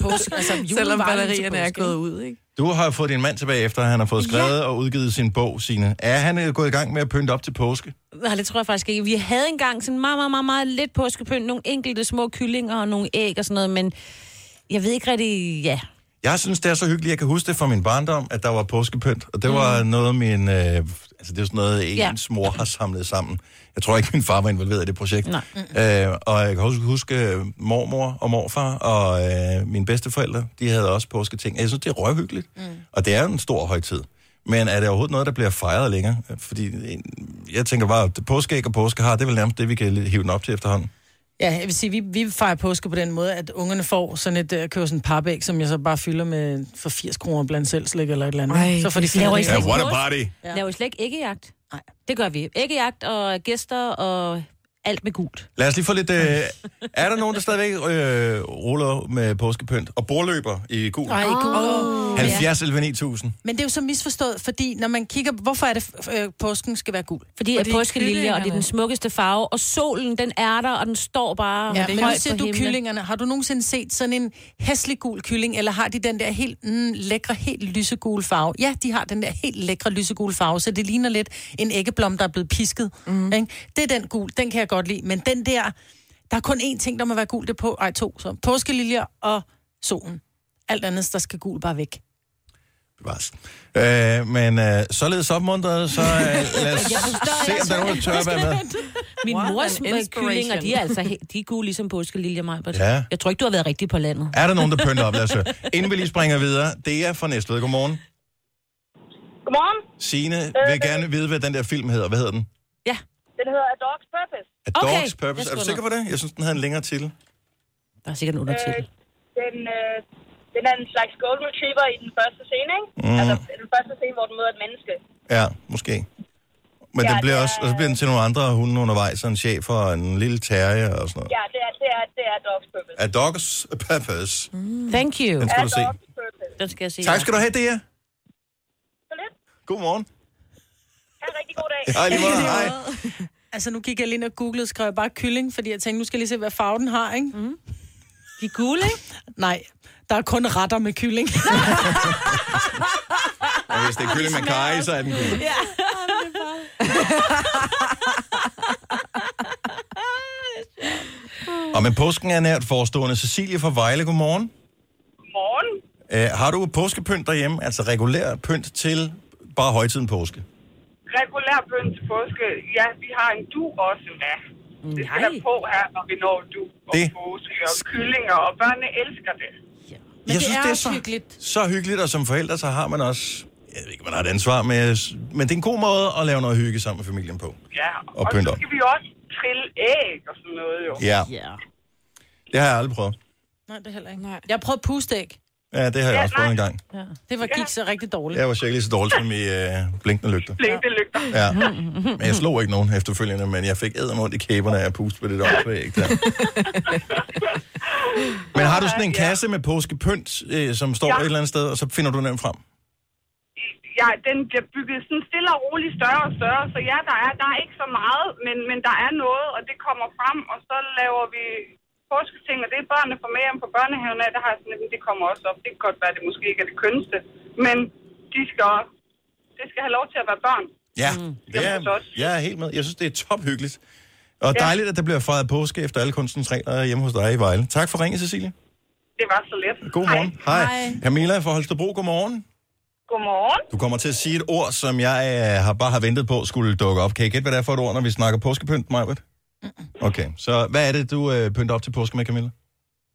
S3: Påske, altså, julen
S4: Selvom
S3: var lige til
S4: batterierne er
S3: påske,
S4: gået
S3: ikke?
S4: ud, ikke?
S1: Du har jo fået din mand tilbage, efter han har fået skrevet ja. og udgivet sin bog, sine. Er han øh, gået i gang med at pynte op til påske?
S2: Nej, det tror jeg faktisk ikke. Vi havde engang sådan meget, meget, meget, meget lidt påskepynt. Nogle enkelte små kyllinger og nogle æg og sådan noget, men jeg ved ikke rigtig... Ja,
S1: Jeg synes, det er så hyggeligt. Jeg kan huske det fra min barndom, at der var påskepynt. Og det var mm. noget, min... Øh, altså, det er sådan noget,
S2: Ja.
S1: ens mor har samlet sammen. Jeg tror ikke, min far var involveret i det projekt.
S2: Nej.
S1: Øh, og jeg kan også huske øh, mormor og morfar og øh, mine bedsteforældre. De havde også påsketing. Jeg synes, det er røvhyggeligt. Mm. Og det er jo en stor højtid. Men er det overhovedet noget, der bliver fejret længere? Fordi øh, jeg tænker bare, at påskeæg og påskehar, det er vel nærmest det, vi kan hive den op til efterhånden.
S3: Ja, jeg vil sige, vi, vi fejrer påske på den måde, at ungerne får sådan et, øh, køber sådan et papæg, som jeg så bare fylder med for 80 kroner blandt selv slik eller et eller andet.
S4: Ej,
S3: så får de
S4: det
S3: fyldt
S2: laver
S3: det.
S2: I slet
S3: Ja.
S2: ikke
S1: what a
S2: påske?
S1: party.
S2: Ja. Laver I slet ikke æggejagt? Nej. Det gør vi. Æggejagt og gæster og alt med gult.
S1: Lad os lige få lidt... Øh, er der nogen, der stadigvæk øh, ruller med påskepynt og borløber i gul?
S3: Ej, oh.
S1: 70 eller 9000.
S3: Men det er jo så misforstået, fordi når man kigger, hvorfor er det, øh, påsken skal være gul?
S2: Fordi at
S4: det er
S2: påskelilje, og det er den
S4: kyllingerne.
S2: smukkeste farve, og solen, den er der, og den står bare ja,
S3: Ja,
S2: højt
S3: men
S2: på
S3: nu siger du
S2: himlen.
S3: kyllingerne. Har du nogensinde set sådan en hæslig gul kylling, eller har de den der helt mm, lækre, helt lysegule farve? Ja, de har den der helt lækre, lysegule farve, så det ligner lidt en æggeblom, der er blevet pisket.
S2: Mhm.
S3: Mm. Ikke? Det er den gul, den kan jeg godt lide. Men den der, der er kun én ting, der må være gul, det er på, ej, to, så påskeliljer og solen. Alt andet, der skal gul bare væk.
S1: Bevares. Øh, men øh, således opmuntret, så øh, lad os se, om der er nogen, der tør at være med.
S2: Min
S4: What
S2: mors
S4: an
S2: øh,
S4: inspiration.
S2: kyllinger, de er altså he- de er gule ligesom påskelilje, mig.
S1: Ja.
S2: Jeg tror ikke, du har været rigtig på landet.
S1: Er der nogen, der pynter op? Lad os høre. Inden vi lige springer videre, det er fra Næstved. Godmorgen.
S9: Godmorgen.
S1: Signe vil gerne vide, hvad den der film hedder. Hvad hedder den?
S2: Ja.
S9: Den hedder A Dog's Purpose.
S1: A
S2: Okay, jeg
S1: Dog's Purpose. Er du
S2: skriver
S1: sikker på det? Jeg synes, den havde en længere titel.
S2: Der er sikkert en undertitel.
S9: Øh, den, øh, den er en slags golden retriever i den første scene, ikke?
S1: Mm.
S9: Altså den første scene, hvor den møder et menneske.
S1: Ja, måske. Men
S9: Ja,
S1: den bliver
S9: det er-
S1: også, og så bliver den til nogle andre hunde undervejs, så en chef og en lille terrier og sådan noget.
S9: Ja, det er, det er, det er A Dog's Purpose.
S1: A Dog's Purpose.
S9: Mm.
S2: Mm. Thank you.
S1: Den skal du se.
S9: Dog's Purpose.
S2: Den skal jeg se.
S1: Tak skal du have, det her.
S9: Så lidt.
S1: Godmorgen.
S9: Ha' en rigtig god dag.
S1: Hej, lige måde. Hej.
S3: Altså, nu gik jeg lige ind og googlede, skrev jeg bare kylling, fordi jeg tænkte, nu skal jeg lige se, hvad farve den har, ikke? Mm.
S2: De er gule, ikke?
S3: Nej, der er kun retter med kylling.
S1: Og hvis det er kylling med kaj, så er den gul. Og men påsken er nært forestående. Cecilie fra Vejle, godmorgen.
S9: Morgen.
S1: Uh, har du påskepynt derhjemme, altså regulær pynt til bare højtiden påske?
S9: Regulær bøn til påske. Ja, vi har en du også med.
S3: Mm,
S9: Det skal der på her, når vi når du og
S1: Det-
S9: påske og kyllinger, og børnene elsker det.
S3: Men det er også hyggeligt.
S1: så hyggeligt, og som forældre, så har man også, jeg ved ikke, man har et ansvar med, men det er en god måde at lave noget hygge sammen med familien på.
S9: Ja,
S1: Og
S9: og,
S1: pynt
S9: så
S1: op.
S9: skal vi også trille æg og sådan noget jo.
S1: Ja,
S2: Ja.
S1: det har jeg aldrig prøvet.
S3: Nej, det er heller ikke.
S4: Nej.
S3: Jeg har prøvet pustæg.
S1: Ja, det har jeg
S9: Ja,
S1: også prøvet en
S9: nej.
S1: gang.
S3: Det var gik så rigtig dårligt.
S1: Jeg var sikkert lige så dårlig som i øh, blinkende lygter.
S9: Blinkende lygter.
S1: Ja. Men jeg slog ikke nogen efterfølgende, men jeg fik ædermund i kæberne af at puste på det der ikke der. Men har du sådan en kasse med påskepynt, øh, som står
S9: Ja.
S1: et eller andet sted, og så finder du den frem?
S9: Ja, den bliver bygget sådan stille og roligt større og større, så ja, der er, der er ikke så meget, men, men der er noget, og det kommer frem, og så laver vi påsketing, og det børnene får med hjem på børnehaven af, der har jeg sådan, lidt, "Men det kommer også op. Det kan godt være, det måske ikke er det kønneste, men de skal også, det skal have lov til at være børn.
S1: Ja,
S9: Mm.
S1: det
S9: Jamen,
S1: er,
S9: godt.
S1: jeg er helt med. Jeg synes, det er tophyggeligt. Og
S9: Ja.
S1: dejligt, at der bliver fejret påske efter alle kunstens regler hjemme hos dig i Vejle. Tak for ringen, Cecilie.
S9: Det var så let.
S1: God morgen. Hej. Hej. Camilla fra Holstebro, god morgen.
S9: Godmorgen.
S1: Du kommer til at sige et ord, som jeg øh, har bare har ventet på skulle dukke op. Kan I gætte, hvad det er for et ord, når vi snakker påskepynt, Majbert? Okay, så hvad er det, du øh, pynter op til påske med, Camilla?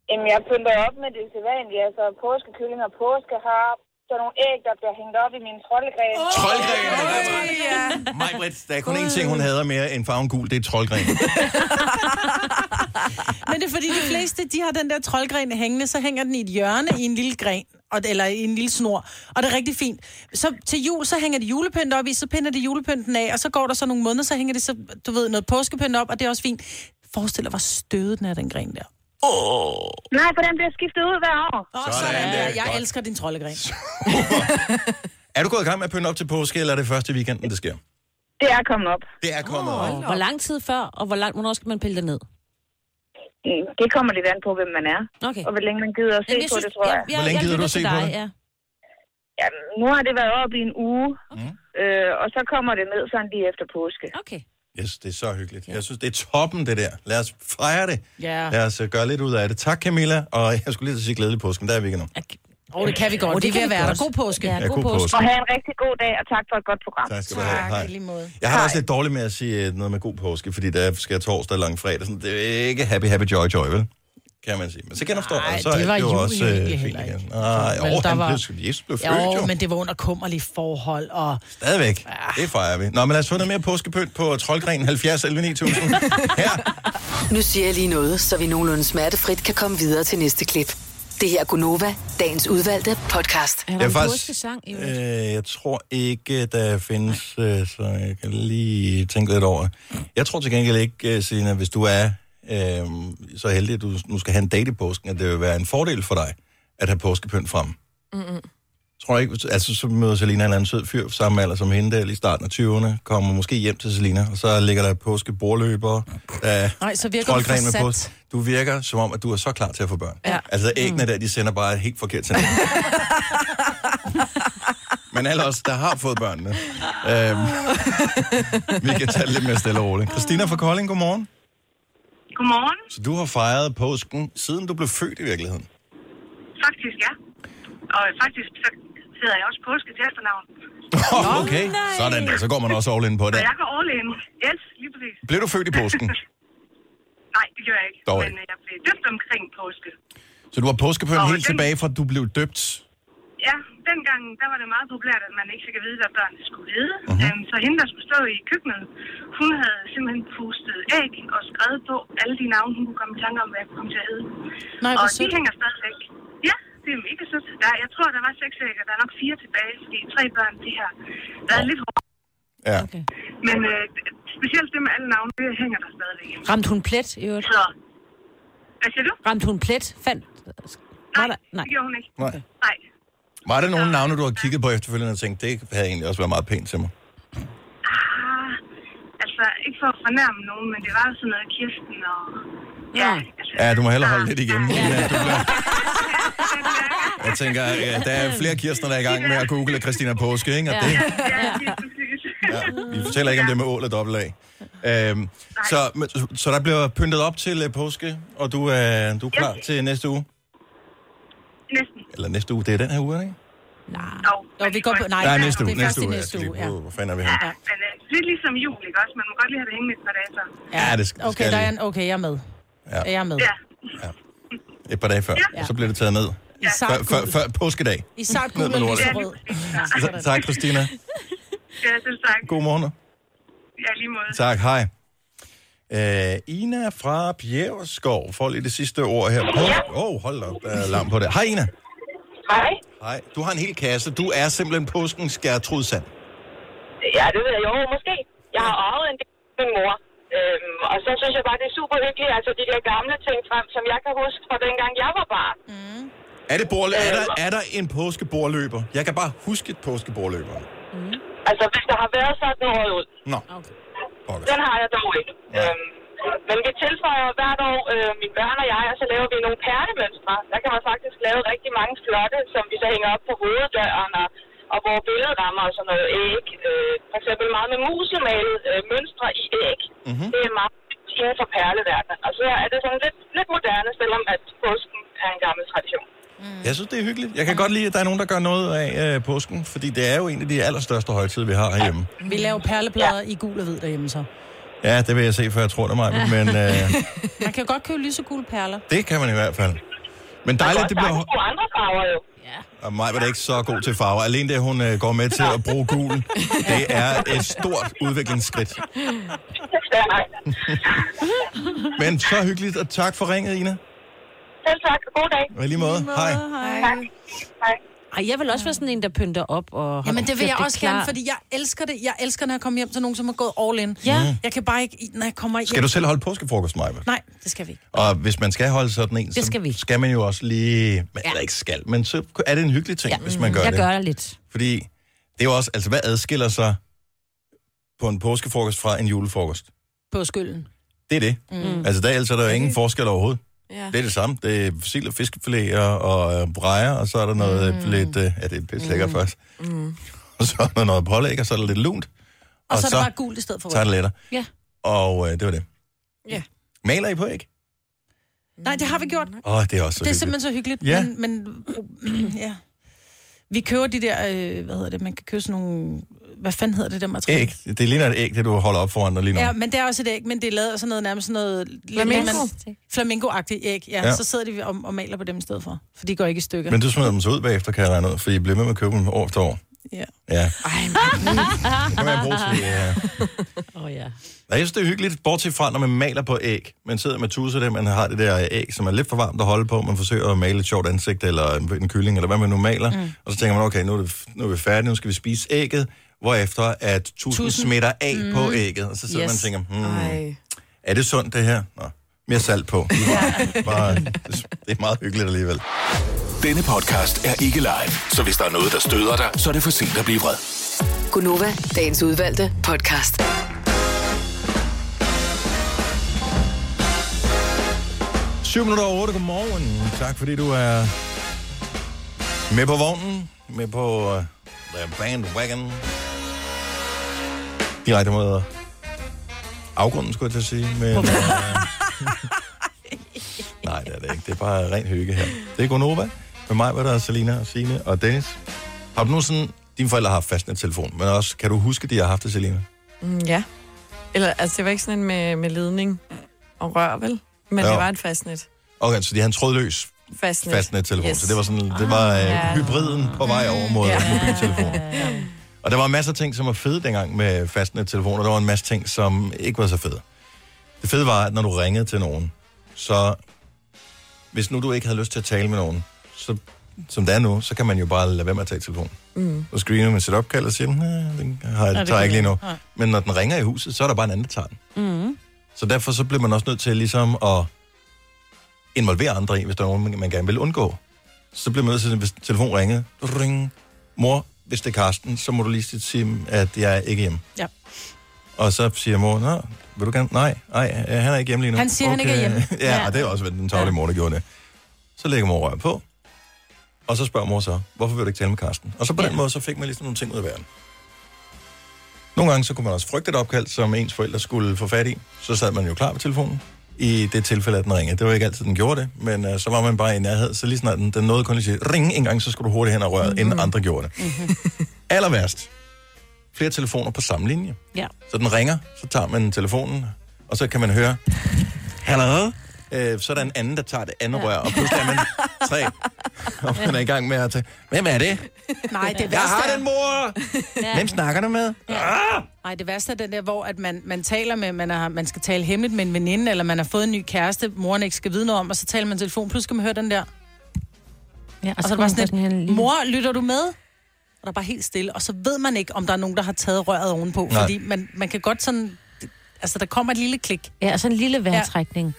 S9: Jamen, jeg pynter op med det sædvanlige, altså påskekyllinger, påskehar, så nogle æg, der bliver hængt op i min troldegren. Oh!
S1: Troldgren! Majbrit, der er kun én ting, hun hader mere end farven gul, det er troldgren.
S3: Men det er fordi, de fleste, de har den der troldgren hængende, så hænger den i et hjørne i en lille gren, og, eller i en lille snor, og det er rigtig fint. Så til jul, så hænger de julepynt op i, så pinder de julepynten af, og så går der så nogle måneder, så hænger de så, du ved, noget påskepynt op, og det er også fint. Forestil dig, hvor stødet den er, den gren der.
S9: Nej, for den bliver skiftet ud hver år.
S3: Og
S1: Sådan
S3: sådan,
S1: der.
S3: der. Jeg
S1: Godt.
S3: elsker din troldegren.
S1: er du gået i gang med at pynte op til påske, eller er det første i weekenden, det sker?
S10: Det er kommet op.
S1: Det er kommet oh, op.
S2: Hvor lang tid før, og hvor langt, hvornår skal man pille det ned?
S10: Mm, Det kommer lidt an på, hvem man er.
S2: Okay.
S10: Og hvor længe man gider at se
S2: Jamen, jeg
S10: på
S2: synes-
S10: det, tror jeg.
S2: jeg- jeg- Hvor længe jeg gider du lytter se til på dig, det? ja.
S10: Jamen, nu har det været op i en uge, øh, og så kommer det ned sådan lige efter påske.
S2: Okay.
S1: Yes, det er så hyggeligt. Jeg synes, det er toppen, det der. Lad os fejre det.
S3: Ja.
S1: Lad os øh, gøre lidt ud af det. Tak, Camilla. Og jeg skulle lige til at sige glædelig påsken. Der er vi ikke endnu.
S3: Åh, oh, det kan vi godt.
S2: Åh,
S3: Oh,
S2: det
S3: det, det
S2: kan
S3: vil
S2: vi
S3: være der.
S2: godt.
S3: God påske.
S1: Ja, god påske.
S10: Og have en rigtig god dag, og tak for et godt program.
S1: Tak skal du have. Hej.
S3: I lige måde.
S1: Jeg har det også lidt dårligt med at sige øh, noget med god påske, fordi der skal torsdag og langfredag. Sådan, det er ikke happy, happy, joy, joy, vel? Kan man sige. Men så genopstår
S3: Nej,
S1: man, så
S3: det
S1: er
S3: var
S1: jo
S3: julen
S1: også øh,
S3: egentlig
S1: fint
S3: heller
S1: igen. Nej,
S3: Men
S1: jo,
S3: der
S1: han
S3: var-
S1: blev, sku- Jesus blev født,
S3: Jo,
S1: jo.
S3: men Ah. det var under kummerlige forhold, og
S1: Stadigvæk. Det fejrer vi. Nå, men lad os få noget mere påskepynt på Troldgren 70 11 9000.
S6: Nu siger jeg lige noget, så vi nogenlunde smertefrit kan komme videre til næste klip. Det her er Gunova, dagens udvalgte podcast.
S1: Er der Jeg en faktisk- påskesang
S2: i
S1: Øh, jeg tror ikke, der findes, øh, så jeg kan lige tænke lidt over det. Jeg tror til gengæld ikke, øh, Selina, hvis du er øh, så heldig, at du nu skal have en date i påsken, at det vil være en fordel for dig at have påskepynt frem.
S4: Mm-mm.
S1: Tror jeg ikke, hvis- altså så møder Selina en eller anden sød fyr på samme alder som hende der, lige i starten af 20'erne, kommer måske hjem til Selina, og så ligger der påskebordløber, der
S3: Nej, så virker du
S1: troldgren med
S3: forsat.
S1: påske. Du virker som om, at du er så klar til at få børn. Ja. Altså æggene mm. der, de sender bare et helt forkert signal. Men alle os, der har fået børnene, øhm, vi kan tage det lidt mere stille og roligt. Christina fra Kolding, godmorgen.
S10: Godmorgen.
S1: Så du har fejret påsken, siden du blev født i virkeligheden.
S10: Faktisk ja. Og faktisk så hedder jeg også påske til efternavn.
S1: okay, sådan der, så går man også all in på det.
S10: Og jeg går all in. Yes, lige præcis.
S1: Blev du født i påsken?
S10: Nej, det gjorde jeg ikke.
S1: Dog
S10: men øh, jeg blev døbt omkring påske.
S1: Så du har påskepøn
S10: Nå,
S1: helt
S10: den-
S1: tilbage fra, at du blev døbt?
S10: Ja, dengang der var det meget populært, at man ikke fik at vide, hvad børnene skulle hedde.
S1: Mhm.
S10: Uh-huh. Um, så hende, der skulle stå i køkkenet, hun havde simpelthen pustet æg og skrevet på alle de navne, hun kunne komme i tanke om, hvad jeg kom til at hedde.
S3: Nej,
S10: og
S3: hvor
S10: de
S3: sødt.
S10: hænger stadigvæk. Ja, det er mega sødt. Der, jeg tror, der var seks æg, og der er nok fire tilbage, fordi tre børn, de har været lidt hårde.
S1: Ja.
S2: Okay.
S10: Men øh, specielt det med alle navne, det hænger der stadigvæk.
S2: Ramte hun plet, i øvrigt?
S10: Så, hvad siger du?
S2: Ramte hun plet? Fandt... Nej, der... nej.
S10: Det gjorde hun ikke.
S1: Nej.
S10: Nej.
S1: Var der nogle navne, du har kigget på efterfølgende og tænkt, det havde egentlig også været meget pænt til mig?
S10: Ah, altså, ikke for at fornærme nogen, men det var sådan noget Kirsten og... Ja,
S1: Ja, du må hellere holde lidt igen. Ja, du bliver... Jeg tænker, øh, ja, der er flere Kirsten, der er i gang med at google Christina Påske, ikke? Og det,
S10: ja, lige præcis.
S1: vi fortæller ikke, om det er med ål og dobbelt A. Øhm, så, men- så- så der bliver pyntet op til øh, påske, og du, er, du er klar til næste uge?
S10: Næsten.
S1: Eller næste uge, det er den her uge, ikke?
S3: Jo, vi går på... Nej,
S1: Nej,
S3: det
S1: næste uge.
S3: er først
S1: Næste
S3: i
S1: uge, ja. Jeg
S3: næste
S1: skal lige
S3: uge, ja.
S1: prøve, Hvor fanden er vi henne?
S10: Ja, men uh, lidt ligesom jul, ikke også? Man må godt lige have det hængende et par dage så.
S1: Ja, det skal, det
S3: Okay,
S1: skal
S3: der
S1: jeg
S3: er
S1: lige.
S3: en... okay, jeg er med.
S1: Ja.
S3: Jeg er med.
S10: Ja.
S1: et par dage før, og så bliver det taget ned.
S3: I
S1: Før,
S3: sart
S1: før,
S3: gul.
S1: før påskedag.
S3: I sart gul
S1: Ned med
S3: og
S1: lortet.
S3: lyserød.
S1: Så- Tak, Christina.
S10: Ja, selv tak.
S1: God morgen.
S10: Ja, lige måde.
S1: Tak, hej. Øh, Ina fra Bjergskov får lige det sidste ord her på. Åh, oh, hold da op, der er larm på det. Hej, Ina.
S11: Hej.
S1: Hej. Du har en hel kasse. Du er simpelthen påskens Gertrud Sand.
S11: Ja, det ved jeg jo, måske. Jeg har arvet en del af min mor. Øhm, og så synes jeg bare, det er super hyggeligt, altså de der gamle ting frem, som jeg kan huske fra dengang jeg var barn.
S1: Er, det borle- er, der, er der en påskeborløber? Jeg kan bare huske et påskeborløber.
S3: Mm.
S11: Altså hvis der har været sådan noget ud,
S1: Nå,
S11: den har jeg dog ikke. Øhm, men vi tilføjer hvert år, øh, mine børn og jeg, og så laver vi nogle perlemønstre. Der kan man faktisk lave rigtig mange flotte, som vi så hænger op på hoveddøren, og, og hvor billedrammer og sådan noget æg. Øh, for eksempel meget med musemalet øh, mønstre i æg. Mm-hmm. Det er meget inden for perleverdenen. Og så er det sådan lidt, lidt moderne, selvom at påsken er en gammel tradition.
S1: jeg synes, det er hyggeligt. Jeg kan godt lide, at der er nogen, der gør noget af øh, påsken, fordi det er jo en af de allerstørste højtider, vi har herhjemme.
S3: Vi laver perleplader i gul og hvid derhjemme så.
S1: Ja, det vil jeg se, før jeg tror det mig, men øh,
S3: Man kan jo godt købe lysegule perler.
S1: det kan man i hvert fald. Men dejligt, at det bliver...
S11: Og andre farver jo.
S1: Og mig var da ikke så god til farver. Alene det, hun øh, går med til at bruge gul, det er et stort udviklingsskridt. Men så hyggeligt, og tak for ringet, Ina.
S11: Selv tak. God dag.
S1: Og i lige måde. Hej.
S11: Tak. Hej.
S2: Ej, jeg vil også være sådan en, der pynter op og... har
S3: Jamen det vil
S2: gjort
S3: jeg også
S2: klar.
S3: gerne, fordi jeg elsker det. Jeg elsker, når jeg kommer hjem til nogen, som har gået all in.
S1: Ja.
S3: Jeg kan bare ikke, når jeg kommer hjem...
S1: Mm. Skal du selv holde påskefrokost, Maja?
S3: Nej, det skal vi ikke.
S1: Og hvis man skal holde sådan en, så
S3: Det skal vi.
S1: skal man jo også lige... Man, ja. ikke skal, men så er det en
S3: Mm.
S1: hyggelig ting, ja. hvis man gør
S2: jeg
S1: det.
S2: gør det lidt.
S1: Fordi det er jo også... Altså, hvad adskiller sig på en påskefrokost fra en julefrokost.
S3: på skylden.
S1: Det er det.
S3: Mm.
S1: Mm. Altså, der, ellers er der jo ingen forskel overhovedet.
S3: Ja.
S1: Det er det samme. Det er sild og fiskefiléer og øh, brejer, og så er der noget mm. lidt... Øh, ja, det er pisse lækkert mm. først.
S4: Mm.
S1: Og så er der noget pålæg, og så er der lidt lunt.
S3: Og, og så, er det bare gult i stedet for Mm.
S1: tager det letter.
S3: Ja.
S1: Og øh, det var det.
S3: ja.
S1: Maler I på æg?
S3: Nej, det har vi gjort.
S1: Åh, oh, det er også så
S3: det er
S1: hyggeligt.
S3: simpelthen så hyggeligt.
S1: Ja.
S3: Men, men ja. Vi køber de der, øh, hvad hedder det, man kan købe sådan nogle, hvad fanden hedder det der materiale?
S1: Æg. Det ligner et æg, det du holder op foran dig lige nu.
S3: Ja, men det er også et æg, men det er lavet af sådan noget, nærmest sådan noget...
S4: Flamingo.
S3: Man- Flamingo-agtigt æg, ja. ja.
S1: Ja.
S3: Så sidder de og, og maler på dem i stedet for, for de går ikke i stykker.
S1: Men du smider dem så ud bagefter, kan jeg regne ud, for I bliver med med at købe dem år efter år.
S3: Ja.
S1: Ja.
S3: det
S1: kan man bruge til, ja.
S2: Åh oh, ja.
S1: Nej, jeg synes, det er hyggeligt, bortset fra, når man maler på æg. Man sidder med tusser det, man har det der æg, som er lidt for varmt at holde på. Man forsøger at male et sjovt ansigt, eller en, en kylling, eller hvad man nu maler.
S12: Mm.
S1: Mm. Og så tænker man, okay, nu er, det, nu er vi færdige, nu skal vi spise ægget. Hvorefter at tusen
S12: Tudsen.
S1: smitter af mm. på
S12: Mm.
S1: ægget. Og så sidder
S12: Yes.
S1: yes. man og tænker, hmm,
S4: Ej.
S1: er det sundt det her? Nå, mere salt på. Bare, bare, det er meget hyggeligt alligevel.
S7: Denne podcast er ikke live, så hvis der er noget, der støder dig, så er det for sent at blive vred.
S6: Øh. Gunova, dagens udvalgte podcast.
S1: Syv minutter over otte. Godmorgen. Tak fordi du er med på vognen, med på uh, the bandwagon. Direkte mod afgrunden, skulle jeg til at sige. Men, uh, nej, det er det ikke. Det er bare ren hygge her. Det er Gonova. Med mig var der Selina, og Signe og Dennis. Har du nogensinde... Dine forældre har haft fastnettelefon, men også, kan du huske, de har haft det, Selina?
S4: Mm, ja. Eller, altså, det var ikke sådan en med, med ledning og rør, vel? Men
S1: Jo.
S4: det var et fastnet.
S1: Okay, så de har en trådløs
S4: Fastnet.
S1: fastnettelefon. Yes.
S4: Yes.
S1: Så
S4: Ah,
S1: det var sådan, det var øh,
S4: ja.
S1: hybriden på vej over mod ja. mobiltelefon. Og der var masser af ting, som var fede dengang med fastnettelefoner. Der var en masse ting, som ikke var så fede. Det fede var, at når du ringede til nogen, så hvis nu du ikke havde lyst til at tale med nogen, så, som det er nu, så kan man jo bare lade være med at tage telefonen.
S4: Mm.
S1: Og screener man sit opkald og siger, "Næh, den hm, har,
S12: Nå,
S1: jeg,
S12: det
S1: tager jeg ikke
S12: kan
S1: lige nu.
S12: jeg. Nej.
S1: Men når den ringer i huset, så er der bare en anden, der tager den.
S12: Mm.
S1: Så derfor så bliver man også nødt til ligesom at involvere andre i, hvis der er nogen, man- man gerne vil undgå. Så bliver man nødt til, hvis telefonen ringer, ring, mor, hvis det er Karsten, så må du lige sige til ham, at jeg er ikke hjemme.
S3: Ja.
S1: Og så siger mor, nå, vil du gerne? Nej, nej, øh, han er ikke hjemme lige nu.
S3: Han siger, han ikke er hjemme.
S1: ja,
S3: Ja.
S1: og det er også hvad den tavlige mor, der gjorde det. Så lægger mor røret på, og så spørger mor så, hvorfor vil du ikke tale med Karsten? Og så på ja. den måde, så fik man ligesom nogle ting ud af verden. Nogle gange så kunne man også frygte et opkald, som ens forældre skulle få fat i. Så sad man jo klar på telefonen i det tilfælde, at den ringede. Det var ikke altid, den gjorde det, men øh, så var man bare i nærhed. Så lige snart den, den nåede kun lige til ringe en gang, så skulle du hurtigt hen og røret,
S3: Mhm.
S1: mm-hmm. inden andre gjorde det. Mm-hmm. Aller værst. Flere telefoner på samme linje.
S2: Ja.
S1: Så den ringer, så tager man telefonen, og så kan man høre, Hallo? Øh, så er der en anden, der tager det andet ja. rør, og pludselig er man tre, og man er i gang med at tage, hvem er det?
S3: Nej, det værste
S1: Jeg har
S3: er-
S1: den, mor!
S3: Ja.
S1: Hvem snakker du med?
S3: Nej, det værste er den der, hvor at man, man taler med, man, er, man skal tale hemmeligt med en veninde, eller man har fået en ny kæreste, moren ikke skal vide noget om, og så taler man i telefon, pludselig skal man høre den der.
S2: Ja, og,
S3: Og
S2: så,
S3: så er det
S2: kommer
S3: bare
S2: sådan,
S3: sådan,
S2: sådan en
S3: lidt,
S2: lille...
S3: mor, lytter du med? Og der er bare helt stille, og så ved man ikke, om der er nogen, der har taget røret ovenpå,
S2: Nej.
S3: Nej. fordi man, man kan godt sådan, altså der kommer et lille klik.
S2: Ja, og sådan en lille vejrtrækning.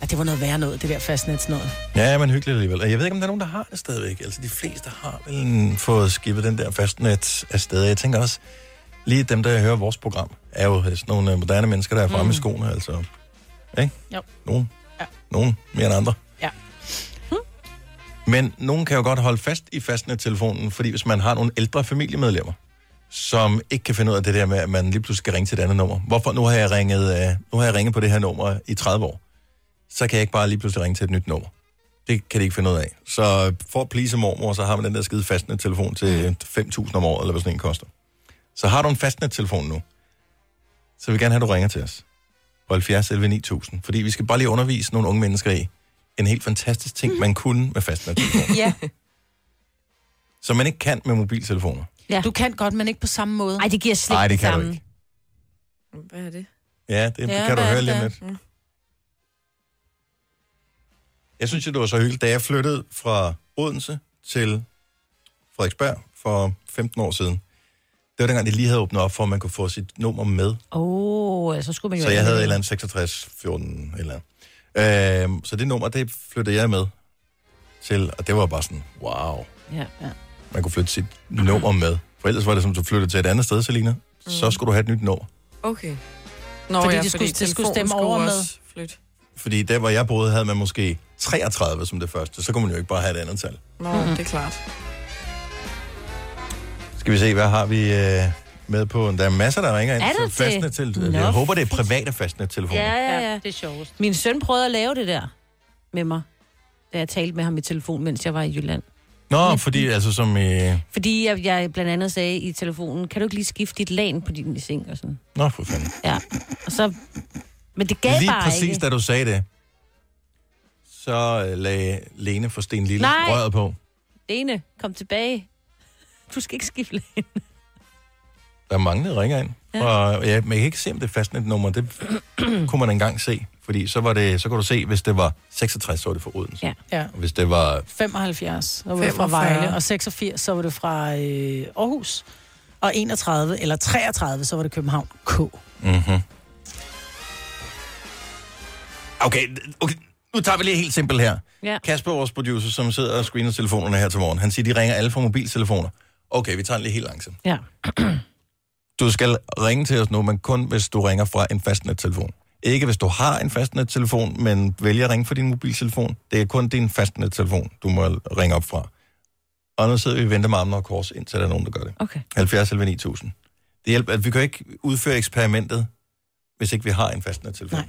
S3: Ja, det var noget værre noget, det der fastnets noget.
S1: Ja, men hyggeligt alligevel. Og jeg ved ikke, om der er nogen, der har det stadigvæk. Altså, de fleste har vel fået skibet den der fastnet af sted. Jeg tænker også, lige dem, der hører vores program, er jo sådan nogle øh, moderne mennesker, der er fremme mm. i skoene, altså. Ikke?
S3: Jo.
S1: Nogen. Ja. Nogen mere end andre.
S3: Ja.
S1: Men nogen kan jo godt holde fast i fastnet-telefonen, fordi hvis man har nogle ældre familiemedlemmer, som ikke kan finde ud af det der med, at man lige pludselig skal ringe til et andet nummer. Hvorfor? Nu har jeg ringet, øh, nu har jeg ringet på det her nummer i 30 år. Så kan jeg ikke bare lige pludselig ringe til et nyt nummer. Det kan de ikke finde ud af. Så for at please mormor, så har man den der skide fastnet-telefon til 5.000 om året, eller hvad sådan en koster. Så har du en fastnet-telefon nu, så vil vi gerne have, at du ringer til os på 70 11 9000, fordi vi skal bare lige undervise nogle unge mennesker i en helt fantastisk ting, man kunne med fastnettelefon,
S3: Ja.
S1: som man ikke kan med mobiltelefoner.
S3: ja. Du kan godt, men ikke på samme måde. Nej,
S2: det giver slet
S1: Nej, det kan du ikke.
S4: Hvad er det?
S1: Ja, det
S4: Ja,
S1: ja, kan du
S4: hvad er
S1: høre lige om
S4: det?
S1: lidt.
S3: Mm.
S1: Jeg synes, jo, det var så hyggeligt, da jeg flyttede fra Odense til Frederiksberg for 15 år siden. Det var dengang, de lige havde åbnet op for, at man kunne få sit nummer med
S2: Åh, oh, så skulle man jo...
S1: Så jeg havde
S2: anmelde.
S1: et eller andet 66, 14, et eller andet. Øhm, så det nummer, det flyttede jeg med til, og det var bare sådan, wow,
S2: Ja, ja.
S1: man kunne flytte sit nummer med. For ellers var det som, du flyttede til et andet sted, Selina. Mm. Så skulle du have et nyt nummer.
S4: Okay.
S3: Fordi de skulle- de skulle
S4: telefonen
S3: stemme over med-
S4: også Flytte.
S1: Fordi der, hvor jeg boede, havde man måske 33 som det første. Så kunne man jo ikke bare have et andet tal.
S4: Nå,
S3: Mhm.
S4: mm-hmm. det er klart.
S1: Skal vi se, hvad har vi øh, med på? Der er masser, der ringer ind.
S2: Er der
S1: til fastnet
S2: det?
S1: til,
S2: Nå,
S1: jeg håber, det er private fastnettelefoner.
S2: Ja, ja, ja. Det er sjovest. Min søn prøvede at lave det der med mig, da jeg talte med ham i telefon, mens jeg var i Jylland.
S1: Nå, fordi altså som... Øh...
S2: Fordi jeg, jeg blandt andet sagde i telefonen, kan du ikke lige skifte dit lan på din seng og sådan.
S1: Nå, for fanden.
S2: Ja, og så... Men det gav
S1: Lige
S2: bare
S1: præcis,
S2: ikke.
S1: da du sagde det, så øh, lagde Lene for Sten Lille
S2: Nej.
S1: røret på.
S2: Lene, kom tilbage. Du skal ikke skifte lan.
S1: Der er mange, der ringer ind. Ja. Og ja, men jeg kan ikke se, om det er fastnetnummer. Det kunne man engang se. Fordi så, var det, så kunne du se, hvis det var 66, så var det for Odense.
S2: Ja.
S3: Ja.
S1: Og hvis det var...
S3: 75, så var det fra
S4: 45.
S3: Vejle, og 86, så var det fra øh, Aarhus, og 31 eller 33, så var det København K.
S1: Mm-hmm. Okay, okay, nu tager vi lige helt simpelt her.
S2: Ja.
S1: Kasper, vores producer, som sidder og screener telefonerne her til morgen, han siger, de ringer alle fra mobiltelefoner. Okay, vi tager den lige helt langsomt.
S2: Ja.
S1: Du skal ringe til os nu, men kun hvis du ringer fra en fastnettelefon. Ikke hvis du har en fastnettelefon, men vælger at ringe fra din mobiltelefon. Det er kun din fastnettelefon, du må ringe op fra. Og nu sidder vi og venter med armene og kors, indtil der er nogen, der gør det.
S2: Okay.
S1: 70 11 9000. Det hjælper, at vi kan jo ikke udføre eksperimentet, hvis ikke vi har en fastnettelefon. Nej.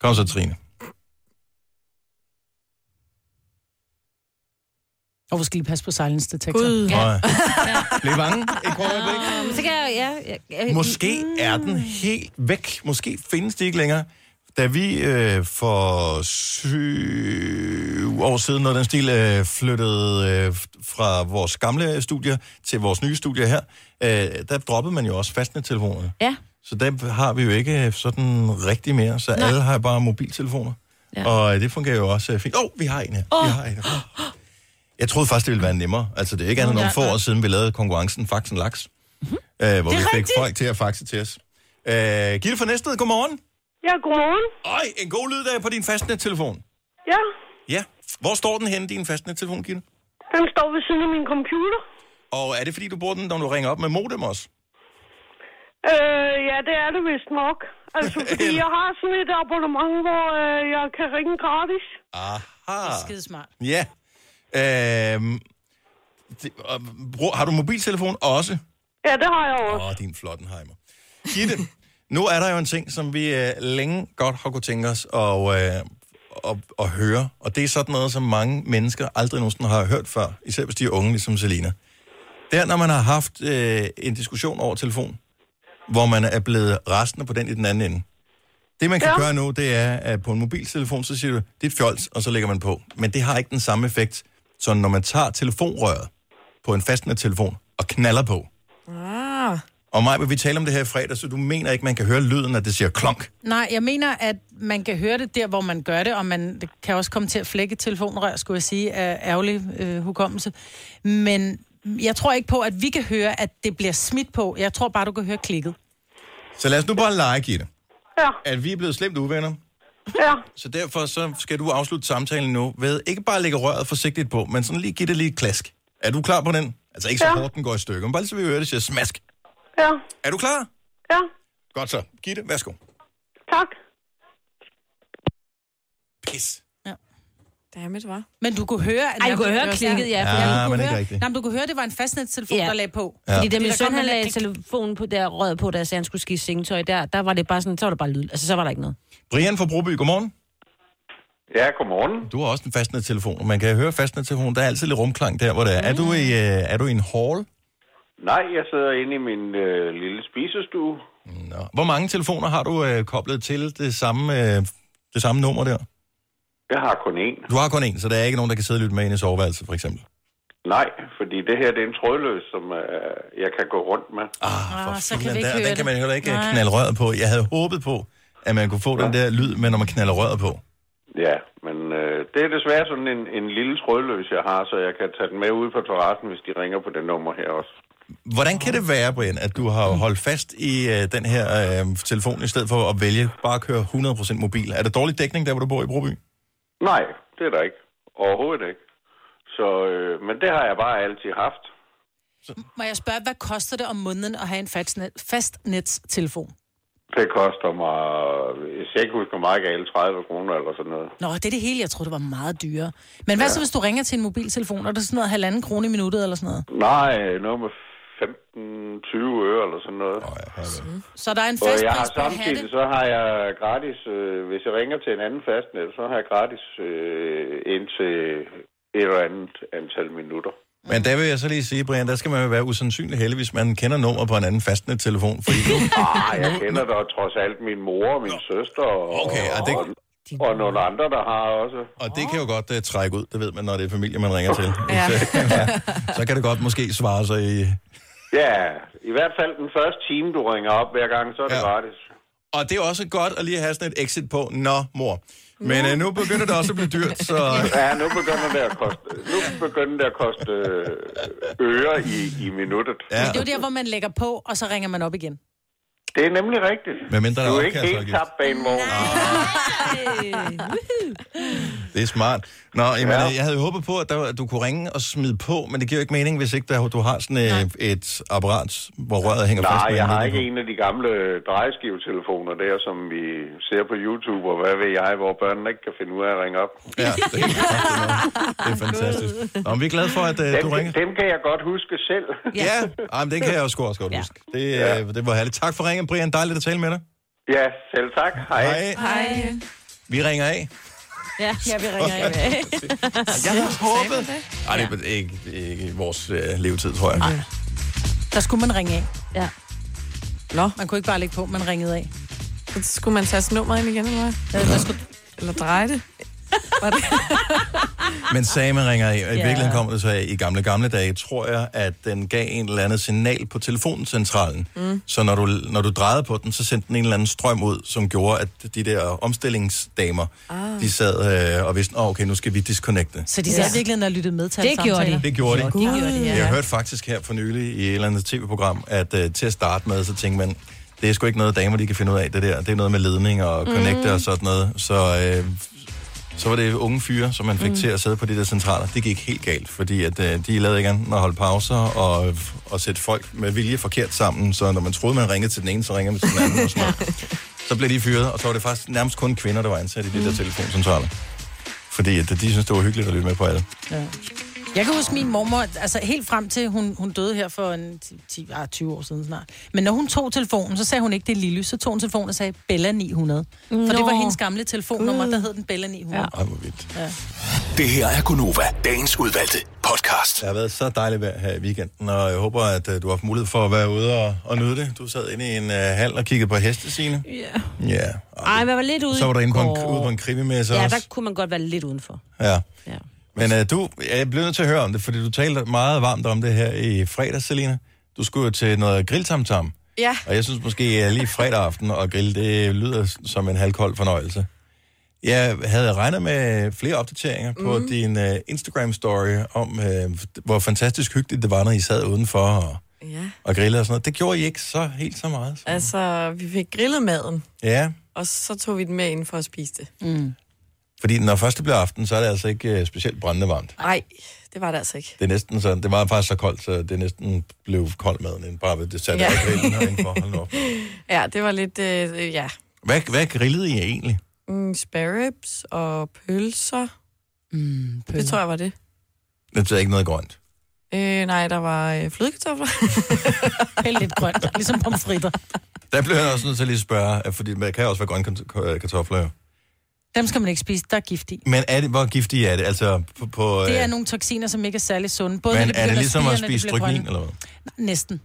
S1: Kom så, Trine.
S3: Og vi skal lige passe på silence detektor.
S2: Gud. Ja.
S1: Ja. Bliv bange. Et kort øjeblik.
S2: Men så kan jeg, ja, ja, ja,
S1: Måske er den helt væk. Måske findes de ikke længere. Da vi øh, for syv år siden, når den stil øh, flyttede øh, fra vores gamle studier til vores nye studier her, øh, der droppede man jo også fastnettelefonerne.
S2: Ja.
S1: Så der har vi jo ikke sådan rigtig mere, så
S2: Nej.
S1: Nej. alle har bare mobiltelefoner.
S2: Ja.
S1: Ja. Og øh, det fungerer jo også øh, fint. Åh, oh, vi har en her. Oh. Vi har en her. Jeg troede faktisk, det ville være nemmere. Altså, det er ikke andet end
S7: Ja,
S1: nogle få
S7: ja.
S1: år siden, vi lavede konkurrencen Faxen Laks, mm-hmm. øh, hvor vi
S7: Det er
S1: fik
S7: rigtigt.
S1: folk til at faxe til os. Øh, Gitte fra Næstved, godmorgen.
S12: Ja, godmorgen.
S1: Øj, en god lyd der på din fastnettelefon.
S12: Ja,
S1: Ja. Hvor står den henne, din fastnettelefon, Gitte?
S12: den står ved siden af min computer.
S1: Og er det, fordi du bruger den, når du ringer op med modem også?
S12: Øh, ja, det er det vist nok. Altså, fordi jeg har sådan et abonnement, hvor øh, jeg kan ringe gratis.
S1: Aha.
S3: smart.
S1: Ja. Øhm, det, og, brug, har du mobiltelefon også?
S12: Ja, det har jeg
S1: også. Åh, din flottenheimer. Gitte, nu er der jo en ting, som vi øh, længe godt har kunne tænke os at, øh, at, at høre. Og det er sådan noget, som mange mennesker aldrig nogensinde har hørt før. Især hvis de er unge, ligesom Selina. Det er, når man har haft øh, en diskussion over telefon, hvor man er blevet restende på den i den anden ende. Det, man kan ja. gøre nu, det er, at på en mobiltelefon, så siger du, det er et fjols, og så lægger man på. Men det har ikke den samme effekt, som når man tager telefonrøret på en fastnettelefon og knaller på.
S4: Ah.
S1: Og Maja, vi taler om det her i fredag, så du mener ikke, man kan høre lyden, at det siger klonk.
S3: Nej, jeg mener, at man kan høre det der, hvor man gør det, og man kan også komme til at flække et telefonrør, skulle jeg sige, af ærgerlig øh, hukommelse. Men jeg tror ikke på, at vi kan høre, at det bliver smidt på. Jeg tror bare, du kan høre klikket.
S1: Så lad os nu bare lege, Gitte.
S12: Ja.
S1: At vi er blevet slemt uvenner.
S12: Ja.
S1: Så derfor så skal du afslutte samtalen nu ved ikke bare at lægge røret forsigtigt på, men sådan lige give det lige et klask. Er du klar på den? Altså ikke så
S12: Ja.
S1: hårdt, den går i stykker, men bare lige så vi hører det siger smask.
S12: Ja,
S1: Er du klar?
S12: ja,
S1: Godt så. Gitte, værsgo.
S12: tak.
S1: Pis.
S4: Dammit, hva'?
S3: Men du kunne høre... at-
S2: Ej, du kunne høre klikket, ja, for Ja, jeg- men
S3: kunne
S2: ikke
S3: høre-
S2: rigtigt.
S3: Nej, men du kunne høre, at det var en fastnettelefon,
S2: Ja.
S3: der lagde på.
S2: Ja. Fordi da
S3: der
S2: min
S3: kom
S2: søn, han
S3: en
S2: lagde
S3: klik.
S2: telefonen på, der rød på, da jeg sagde, han skulle skifte sengetøj, der, der var det bare sådan, så var det bare lyd. Altså, så var der ikke noget.
S1: Brian fra Broby, godmorgen.
S13: Ja, godmorgen.
S1: Du har også en fastnettelefon, og man kan høre fastnettelefon. Der er altid lidt rumklang der, hvor det er. Er du i, øh, er du i en hall?
S13: Nej, jeg sidder inde i min øh, lille spisestue.
S1: Nå. Hvor mange telefoner har du øh, koblet til det samme, øh, det samme nummer der?
S13: Jeg har kun én.
S1: Du har kun en, så der er ikke nogen, der kan sidde og lytte med ind i soveværelset, for eksempel.
S13: Nej, fordi det her det er en trådløs, som øh, jeg kan gå rundt med.
S1: Ah,
S13: for
S1: så kan vi ikke der, den kan man heller ikke Nej. knalde røret på. Jeg havde håbet på, at man kunne få ja. den der lyd, men når man knaller røret på.
S13: Ja, men øh, det er desværre sådan en, en lille trådløs, jeg har, så jeg kan tage den med ud på terrassen, hvis de ringer på det nummer her også.
S1: Hvordan kan det være, Brian, at du har holdt fast i øh, den her øh, telefon, i stedet for at vælge bare at køre 100% mobil? Er der dårlig dækning der, hvor du bor i Broby?
S13: Nej, det er der ikke. Overhovedet ikke. Så, øh, men det har jeg bare altid haft.
S3: Må jeg spørge, hvad koster det om måneden at have en fastnet, fastnetstelefon?
S13: Det koster mig, hvis jeg ikke husker meget galt, 30 kroner eller sådan noget.
S3: Nå, det er det hele. Jeg troede, det var meget dyrere. Men hvad ja. så, hvis du ringer til en mobiltelefon, og det er sådan noget halvanden krone i minuttet eller sådan noget?
S13: Nej, noget med 15-20 øre eller sådan noget. Oh, ja,
S3: Så der er en
S13: og
S3: fast
S13: jeg har
S3: pris på at have
S13: samtidig,
S3: det.
S13: så har jeg gratis, øh, hvis jeg ringer til en anden fastnet, så har jeg gratis øh, indtil et eller andet antal minutter.
S1: Men der vil jeg så lige sige, Brian, der skal man jo være usandsynlig heldig, hvis man kender nummer på en anden fastnettelefon. Fordi nu...
S13: Ah, jeg kender da trods alt min mor og min søster og, okay, og, det... og, og nogle andre, der har også.
S1: Og det kan jo godt uh, trække ud, det ved man, når det er familie, man ringer til. ja. Så kan det godt måske svare sig i...
S13: Ja, i hvert fald den første time, du ringer op hver gang, så er det ja. gratis.
S1: Og det er også godt at lige have sådan et exit på, nå mor. Men uh, nu begynder det også at blive dyrt, så...
S13: Ja, nu begynder det at koste, nu begynder det at koste øh, øre i, i minuttet.
S3: Ja. Det er jo der, hvor man lægger på, og så ringer man op igen.
S13: Det er nemlig rigtigt.
S1: Hvad mindre der
S13: du
S1: er
S13: er ikke helt
S1: opkaldsafgift.
S13: tabt bag en vogn.
S1: Det er smart. Nå, jamen, ja. jeg havde jo håbet på, at, der, var- at du kunne ringe og smide på, men det giver jo ikke mening, hvis ikke der, du har sådan et, et apparat, hvor røret hænger fast.
S13: Nej,
S1: med
S13: jeg
S1: en
S13: har
S1: lille-
S13: ikke en af de gamle drejeskivetelefoner der, som vi ser på YouTube, og hvad ved jeg, hvor børnene ikke kan finde ud af at ringe op.
S1: Ja, det er, det er fantastisk. Nå, men vi er glade for, at uh,
S13: dem,
S1: du ringer.
S13: Dem kan jeg godt huske selv.
S1: Ja, Ej, men den kan jeg også godt ja. huske. Det, ja. det var herligt. Tak for ringen, Brian. Dejligt at tale med dig.
S13: Ja, selv tak. Hej.
S1: Hej. Vi ringer af.
S2: Ja, ja vi ringer ind.
S1: Jeg havde håbet. Nej, det er ikke, det er ikke i vores øh, levetid, tror jeg.
S3: Der skulle man ringe af.
S2: Ja.
S3: Nå. Man kunne ikke bare lægge på, man ringede af.
S4: Så skulle man tage nummeret ind igen, eller hvad?
S3: Eller, skulle...
S4: eller dreje det? Var det?
S1: Men Same ringer af, og i
S4: Ja.
S1: virkeligheden kommer det så af, i gamle, gamle dage, tror jeg, at den gav en eller anden signal på telefoncentralen. Mm. Så når du, når du drejede på den, så sendte den en eller anden strøm ud, som gjorde, at de der omstillingsdamer, ah. de sad øh, og vidste, oh, okay, nu skal vi disconnecte.
S3: Så de sad virkelig og lyttede med til
S2: Det
S3: alle
S2: gjorde
S3: samtaler.
S2: de.
S1: Det gjorde de.
S3: Det gjorde de, ja.
S1: Jeg hørte faktisk her for nylig i et eller andet tv-program, at øh, til at starte med, så tænkte man, det er sgu ikke noget, damer de kan finde ud af, det der. Det er noget med ledning og connecte
S7: Mm.
S1: mm. og sådan noget. Så, øh, så var det unge fyre, som man fik mm. til at sidde på de der centraler. Det gik helt galt, fordi at, øh, de lavede ikke andet end at holde pauser og, og sætte folk med vilje forkert sammen. Så når man troede, man ringede til den ene, så ringer man til den anden. og sådan noget. Så blev de fyret, og så var det faktisk nærmest kun kvinder, der var ansat i de der telefoncentraler. Fordi at, øh, de synes det var hyggeligt at lytte med på alle.
S3: Ja. Jeg kan huske min mormor, altså helt frem til hun, hun døde her for en 10, 10, ah, 20 år siden snart. Men når hun tog telefonen, så sagde hun ikke, det er Lille. Så tog hun telefonen og sagde Bella 900. For det var
S4: Nå.
S3: hendes gamle telefonnummer, der hed den Bella 900. Ja.
S1: Ej, hvor vildt.
S3: Ja.
S7: Det her er Gunova, dagens udvalgte podcast.
S1: Det har været så dejligt vejr her i weekenden, og jeg håber, at øh, du har haft mulighed for at være ude og, og nyde det. Du sad inde i en uh, hal og kiggede på heste, Signe.
S2: Ja.
S1: Ja.
S2: Ej, jeg var lidt ude
S1: Så var du inde på en,
S2: i går.
S1: ude på en krimimesse
S2: Ja,
S1: også.
S2: der kunne man godt være lidt udenfor.
S1: Ja.
S2: Ja.
S1: Men uh, du, jeg blev nødt til at høre om det, fordi du talte meget varmt om det her i fredags, Selina. Du skulle jo til noget grilltamtam,
S4: Ja.
S1: og jeg synes måske uh, lige fredag aften og grille, det lyder som en halvkold fornøjelse. Jeg havde regnet med flere opdateringer mm. på din uh, Instagram-story om, uh, hvor fantastisk hyggeligt det var, når I sad udenfor og,
S4: Ja.
S1: og grillede og sådan noget. Det gjorde I ikke så helt så meget.
S4: Altså, vi fik grillet maden,
S1: Ja,
S4: og så tog vi den med ind for at spise det. Mm.
S1: fordi når først det blev aften, så er det altså ikke uh, specielt brændende varmt.
S4: Nej, det var det altså ikke.
S1: Det er næsten sådan, det var faktisk så koldt, så det næsten blev kold maden, end bare ved det satte
S4: Ja.
S1: ja. grillen herinde for. Hold nu op.
S4: Ja, det var lidt, øh, ja,
S1: Hvad, hvad grillede I egentlig?
S4: mm, spare ribs og pølser.
S3: Mm,
S4: Det tror jeg var det.
S1: Det er ikke noget grønt.
S4: Øh, nej, der var øh, flødekartofler.
S3: Helt lidt grønt, ligesom pomfritter.
S1: Der blev jeg også nødt til at lige spørge, øh, fordi man kan jo også være grønne kant- ko- øh, kartofler. jo.
S3: Dem skal man ikke spise, der er gift i.
S1: Men er det, hvor giftige er det? Altså, på, på,
S3: Det er
S1: øh,
S3: nogle toksiner, som ikke er særlig sunde. Både når
S1: men
S3: de
S1: er det
S3: begynder
S1: ligesom at
S3: spire, når de
S1: spise
S3: bliver grønne.
S1: stryknin, eller hvad?
S3: Næsten.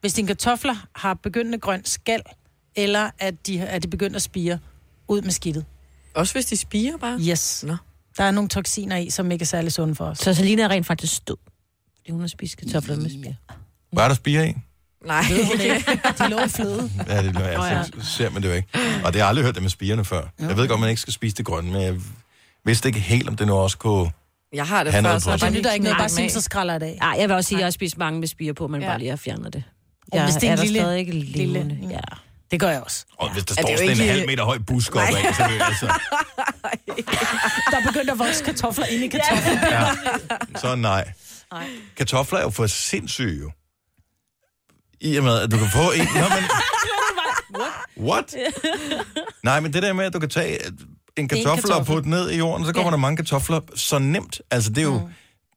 S3: Hvis dine kartofler har begyndende grøn skal, eller at de, at de begynder at spire, ud med skidtet.
S4: Også hvis de spiger bare?
S3: Yes.
S4: Nå.
S3: Der er nogle toksiner i, som ikke er særlig sunde for os.
S2: Så Selina er rent faktisk død. Fordi hun har spist kartofler med spil.
S1: Var der spire i?
S4: Nej.
S3: Ved hun ikke. De lå i fløde.
S1: Ja, det
S3: Nå,
S1: altså,
S3: ja.
S1: ja. ser man det jo ikke. Og det har jeg aldrig hørt det med spirene før. Jeg ved godt, man ikke skal spise det grønne, men jeg vidste ikke helt, om det nu også kunne...
S4: Jeg har
S1: det Han før, havde så på
S3: der
S1: sig.
S3: nytter ikke noget, bare
S2: Nej.
S3: sim, så skræller det af.
S2: Nej, jeg vil også sige, at jeg har spist mange med spire på, men ja. bare lige har fjernet det.
S3: Og
S2: Jeg
S3: hvis det er en
S2: der
S3: lille-
S2: stadig ikke
S3: lille-
S2: levende. Ja.
S3: Det gør jeg også.
S1: Og hvis der
S3: Ja, det
S1: står
S3: er jo
S1: sådan en
S3: ikke-
S1: halv meter høj busk op
S3: Nej.
S1: af, så vil jeg altså...
S3: Ah, Der er begyndt at vokse kartofler ind i kartofler.
S1: Ja. Så nej. Kartofler er jo for sindssyge jo. I og med, at du kan få en... Nå, men, what? Nej, men det der med, at du kan tage øh, en kartoffel og
S14: kartoffel.
S1: putte ned i jorden, så
S14: Ja.
S1: kommer der mange kartofler op så nemt. Altså, det er jo,
S3: Mm.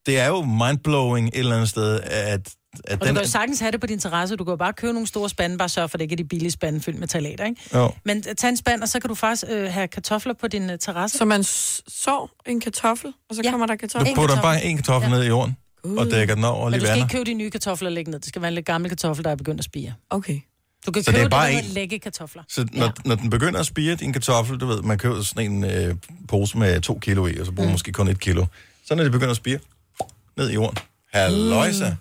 S1: det er jo mindblowing et eller andet sted, at, at
S3: Og du
S1: den...
S3: kan jo sagtens have det på din terrasse. Du kan jo bare købe nogle store spande, bare sørge for, at det ikke er de billige spande fyldt med talater, ikke?
S1: Jo.
S3: Men øh, tag en spand, og så kan du faktisk øh, have kartofler på din øh, terrasse.
S4: Så man sår en kartoffel, og så ja. kommer der kartofler.
S1: Du putter bare en kartoffel ned i jorden, og dækker den over og
S3: Men
S1: lige
S3: du skal
S1: vander.
S3: ikke købe de nye kartofler og lægge ned. Det skal være en lidt gammel kartoffel, der er begyndt at spire.
S4: Okay.
S3: Du kan
S1: Så det
S3: købe
S1: er bare
S3: det, der
S1: en-
S3: hedder lægge kartofler.
S1: Så når, ja. når den begynder at spire, din kartoffel, du ved, man køber sådan en øh, pose med to kilo i, og så
S3: Mm.
S1: bruger man måske kun et kilo. Så når det begynder at spire, ned i jorden. Halløjsa.
S3: Mm.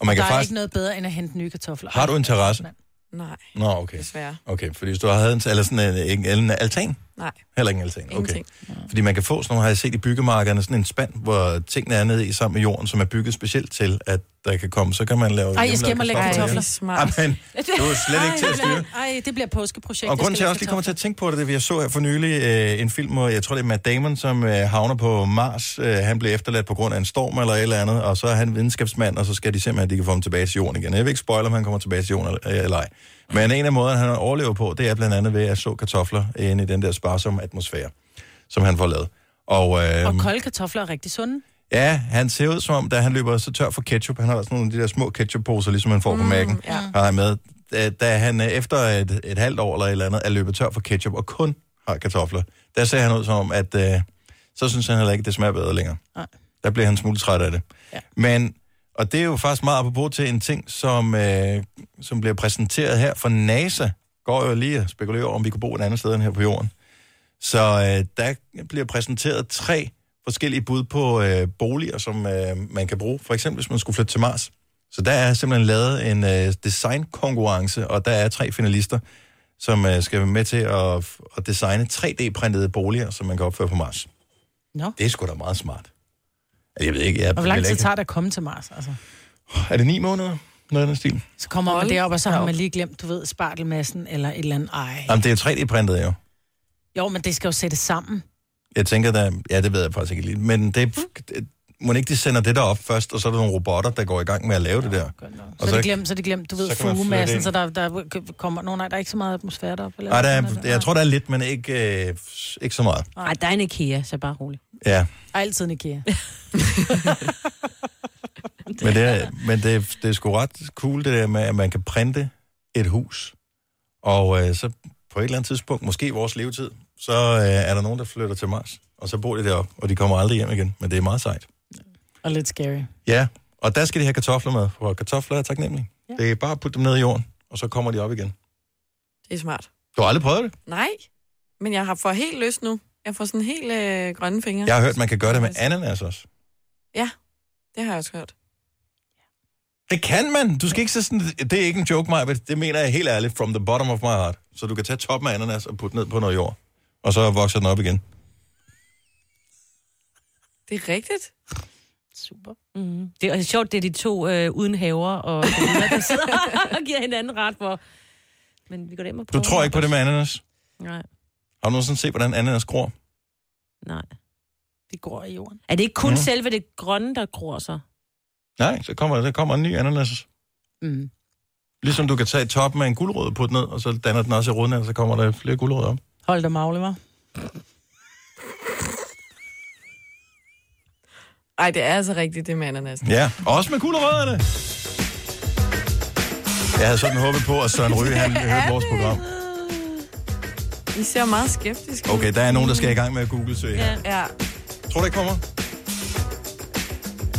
S1: Og man
S3: der
S1: kan
S3: er
S1: faktisk...
S3: ikke noget bedre, end at hente nye kartofler.
S1: Har du en terrasse?
S4: Nej,
S1: Nå, okay.
S4: desværre.
S1: Okay, fordi hvis du havde en, eller sådan en, en, en altan?
S4: Nej.
S1: Heller ikke en altan, okay.
S4: Ingenting.
S1: Fordi man kan få sådan nogle, har jeg set i byggemarkederne, sådan en spand, hvor tingene er nede i sammen med jorden, som er bygget specielt til, at der kan komme, så kan man lave...
S3: Ej, jeg skal hjem og lægge kartofler.
S1: Ja. Ej, men, du er slet ikke til at styre.
S3: Ej, det bliver et påskeprojekt.
S1: Og grunden til, at jeg også lige kommer til at tænke på det, det er, at jeg så her for nylig øh, en film, hvor jeg tror, det er Matt Damon, som øh, havner på Mars. Øh, han blev efterladt på grund af en storm eller et eller andet, og så er han videnskabsmand, og så skal de simpelthen, at de kan få ham tilbage til jorden igen. Jeg vil ikke spoil, om han kommer tilbage til jorden eller, øh, eller ej. Men en af måderne, han overlever på, det er blandt andet ved at så kartofler inde i den der sparsomme atmosfære, som han får lavet. Og, øh,
S3: Og kolde kartofler er rigtig sunde.
S1: Ja, han ser ud som om, da han løber så tør for ketchup, han har sådan nogle af de der små ketchupposer, ligesom han får mm, på mærken,
S3: ja.
S1: har han med. Da, da han øh, efter et, et halvt år eller et eller andet er løbet tør for ketchup og kun har kartofler, der ser han ud som om, at øh, så synes han heller ikke, det smager bedre længere.
S3: Nej.
S1: Der bliver han en smule træt af det. Ja. Men, og det er jo faktisk meget apropos til en ting, som, øh, som bliver præsenteret her for NASA, går jo lige og spekulerer over, om vi kunne bo et andet sted end her på jorden. Så øh, der bliver præsenteret tre forskellige bud på øh, boliger, som øh, man kan bruge. For eksempel, hvis man skulle flytte til Mars. Så der er simpelthen lavet en øh, designkonkurrence, og der er tre finalister, som øh, skal være med til at, at designe 3D-printede boliger, som man kan opføre på Mars.
S3: Nå.
S1: Det er sgu da meget smart. Altså, Jeg ved ikke, jeg
S3: Og hvor lang
S1: vil
S3: tid
S1: ikke-
S3: tager det at komme til Mars? Altså?
S1: Er det ni måneder? Noget af den stil.
S3: Så kommer man
S4: Hold
S3: derop, og så har
S4: da op.
S3: man lige glemt, du ved, spartelmassen eller et eller andet. Ej.
S1: Jamen, det er 3D-printet jo.
S3: Jo, men det skal jo sættes sammen.
S1: Jeg tænker da, ja, det ved jeg faktisk ikke lige, men det, det må ikke de sender det der op først, og så er der nogle robotter, der går i gang med at lave det der.
S3: Så, så, det glemt, så det glemt, du ved,
S1: så kan man flytte
S3: fugemassen,
S1: ind.
S3: så der, der kommer... Nå, nej, der er ikke så meget atmosfære deroppe. eller
S1: Ej, der
S3: sådan
S1: er,
S3: noget
S1: jeg tror, der er lidt, men ikke, øh, ikke så meget.
S2: Nej, der er en IKEA, så bare rolig.
S1: Ja,
S3: Altid en IKEA.
S1: men, det er, men det, er- det er sgu ret cool, det der med, at man kan printe et hus, og øh, så på et eller andet tidspunkt, måske i vores levetid, så øh, er der nogen, der flytter til Mars, og så bor de deroppe, og de kommer aldrig hjem igen, men det er meget sejt.
S3: Og lidt scary.
S1: Ja, og der skal de have kartofler med, for kartofler er taknemmelige. Ja. Det er bare at putte dem ned i jorden, og så kommer de op igen.
S4: Det er smart.
S1: Du har aldrig prøvet det?
S4: Nej, men jeg har fået helt lyst nu. Jeg får sådan helt øh, grønne fingre.
S1: Jeg har hørt, man kan gøre det med ananas også.
S4: Ja, det har jeg også hørt.
S1: Det kan man. Du skal ikke se sådan... Det er ikke en joke, Maja. Det mener jeg helt ærligt from the bottom of my heart. Så du kan tage toppen af ananas og putte ned på noget jord. Og så vokser den op igen.
S4: Det er rigtigt.
S2: Super. Mm. Det er sjovt, det er de to øh, uden haver, og så videre, der sidder og giver hinanden ret for. Men vi går hjem og
S1: Du
S2: prøver.
S1: tror ikke på det med ananas?
S2: Nej.
S1: Har du nogensinde set, hvordan ananas gror?
S2: Nej.
S3: Det gror i jorden.
S2: Er det ikke kun
S1: Mm.
S2: mm. selve det grønne, der gror så?
S1: Nej, så kommer der kommer en ny ananas.
S3: Mm.
S1: Ligesom du kan tage toppen af en guldrød og putte ned, og så danner den også i ruden, og så kommer der flere guldrødder op.
S3: Hold da magle, var.
S4: Ej, det er altså rigtigt, det med ananas.
S1: Ja, og også med gulerødderne. Jeg havde sådan håbet på, at Søren Ryge, han hørte vores program.
S4: I ser meget skeptisk ud.
S1: Okay, der er nogen, der skal i gang med at google-søge her.
S4: Ja.
S1: Tror du ikke på mig?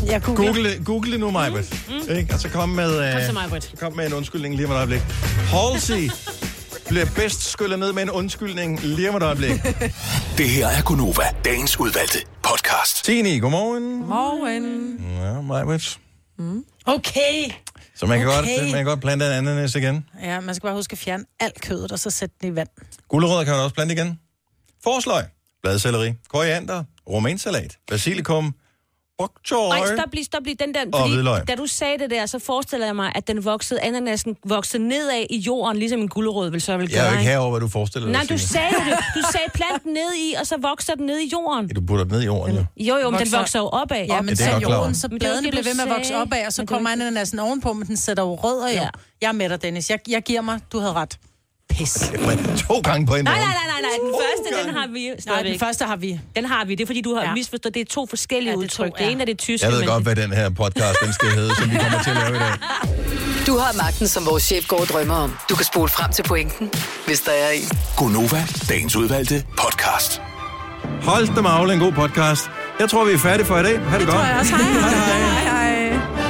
S3: Jeg
S1: Google, det- google det nu, Majbet. Mm. Ikke? Og så kom med, øh,
S2: Kom så, Maj-Brit.
S1: kom med en undskyldning lige om et øjeblik. Halsey bliver bedst skyllet ned med en undskyldning lige om et øjeblik.
S7: Det her er Gunova, dagens udvalgte podcast.
S1: Tini, godmorgen.
S4: Morgen.
S1: Ja, Majbet.
S3: Okay.
S1: Så man kan,
S3: Okay.
S1: godt, man kan godt plante en ananas igen.
S3: Ja, man skal bare huske at fjerne alt kødet, og så sætte det i vand.
S1: Gulerødder kan man også plante igen. Forsløg, bladselleri, koriander, romansalat, basilikum Bokchoy.
S2: Nej, stop lige, stop lige. Den der,
S1: Og hvidløg.
S2: da du sagde det der, så forestiller jeg mig, at den voksede, ananasen voksede nedad i jorden, ligesom en gulerod vil så vil
S1: Jeg er
S2: gøre.
S1: jo ikke herover, hvad du forestiller dig.
S2: Nej, du
S1: Signe.
S2: sagde det. Du sagde plant den ned i, og så vokser den ned i jorden.
S1: Du putter den ned i jorden, jo.
S2: Jo, jo, men den
S3: Vokser-
S2: vokser jo opad.
S3: Ja, men
S1: det
S3: så
S1: er jeg godt klar over.
S3: jorden, så
S2: Men det var
S3: bladene
S2: det,
S3: bliver
S2: du
S3: ved med at vokse
S2: sagde.
S3: opad, og så kommer ananasen ovenpå, men den sætter jo rødder jo. Jeg er med dig, Dennis. Jeg, jeg giver mig, du havde ret. Pis.
S1: Men to gange på en
S2: Nej,
S1: morgen.
S2: nej, nej, nej, nej. Den første, den har vi
S3: Nej,
S2: stadigvæk.
S3: den første har vi.
S2: Den har vi. Det er, fordi du har
S3: Ja.
S2: ja. misforstået. Det er to forskellige ja, det udtryk. Det ene er det tyske,
S1: Jeg ved
S2: men
S1: godt, hvad den her podcast, den skal hedde, som vi kommer til at lave i dag.
S6: Du har magten, som vores chef går og drømmer om. Du kan spole frem til pointen, hvis der er en.
S7: Gonova, dagens udvalgte podcast.
S1: Hold da magle, en god podcast. Jeg tror, vi er færdige for i dag. Ha' det, det godt.
S4: Hej, hej. hej, hej.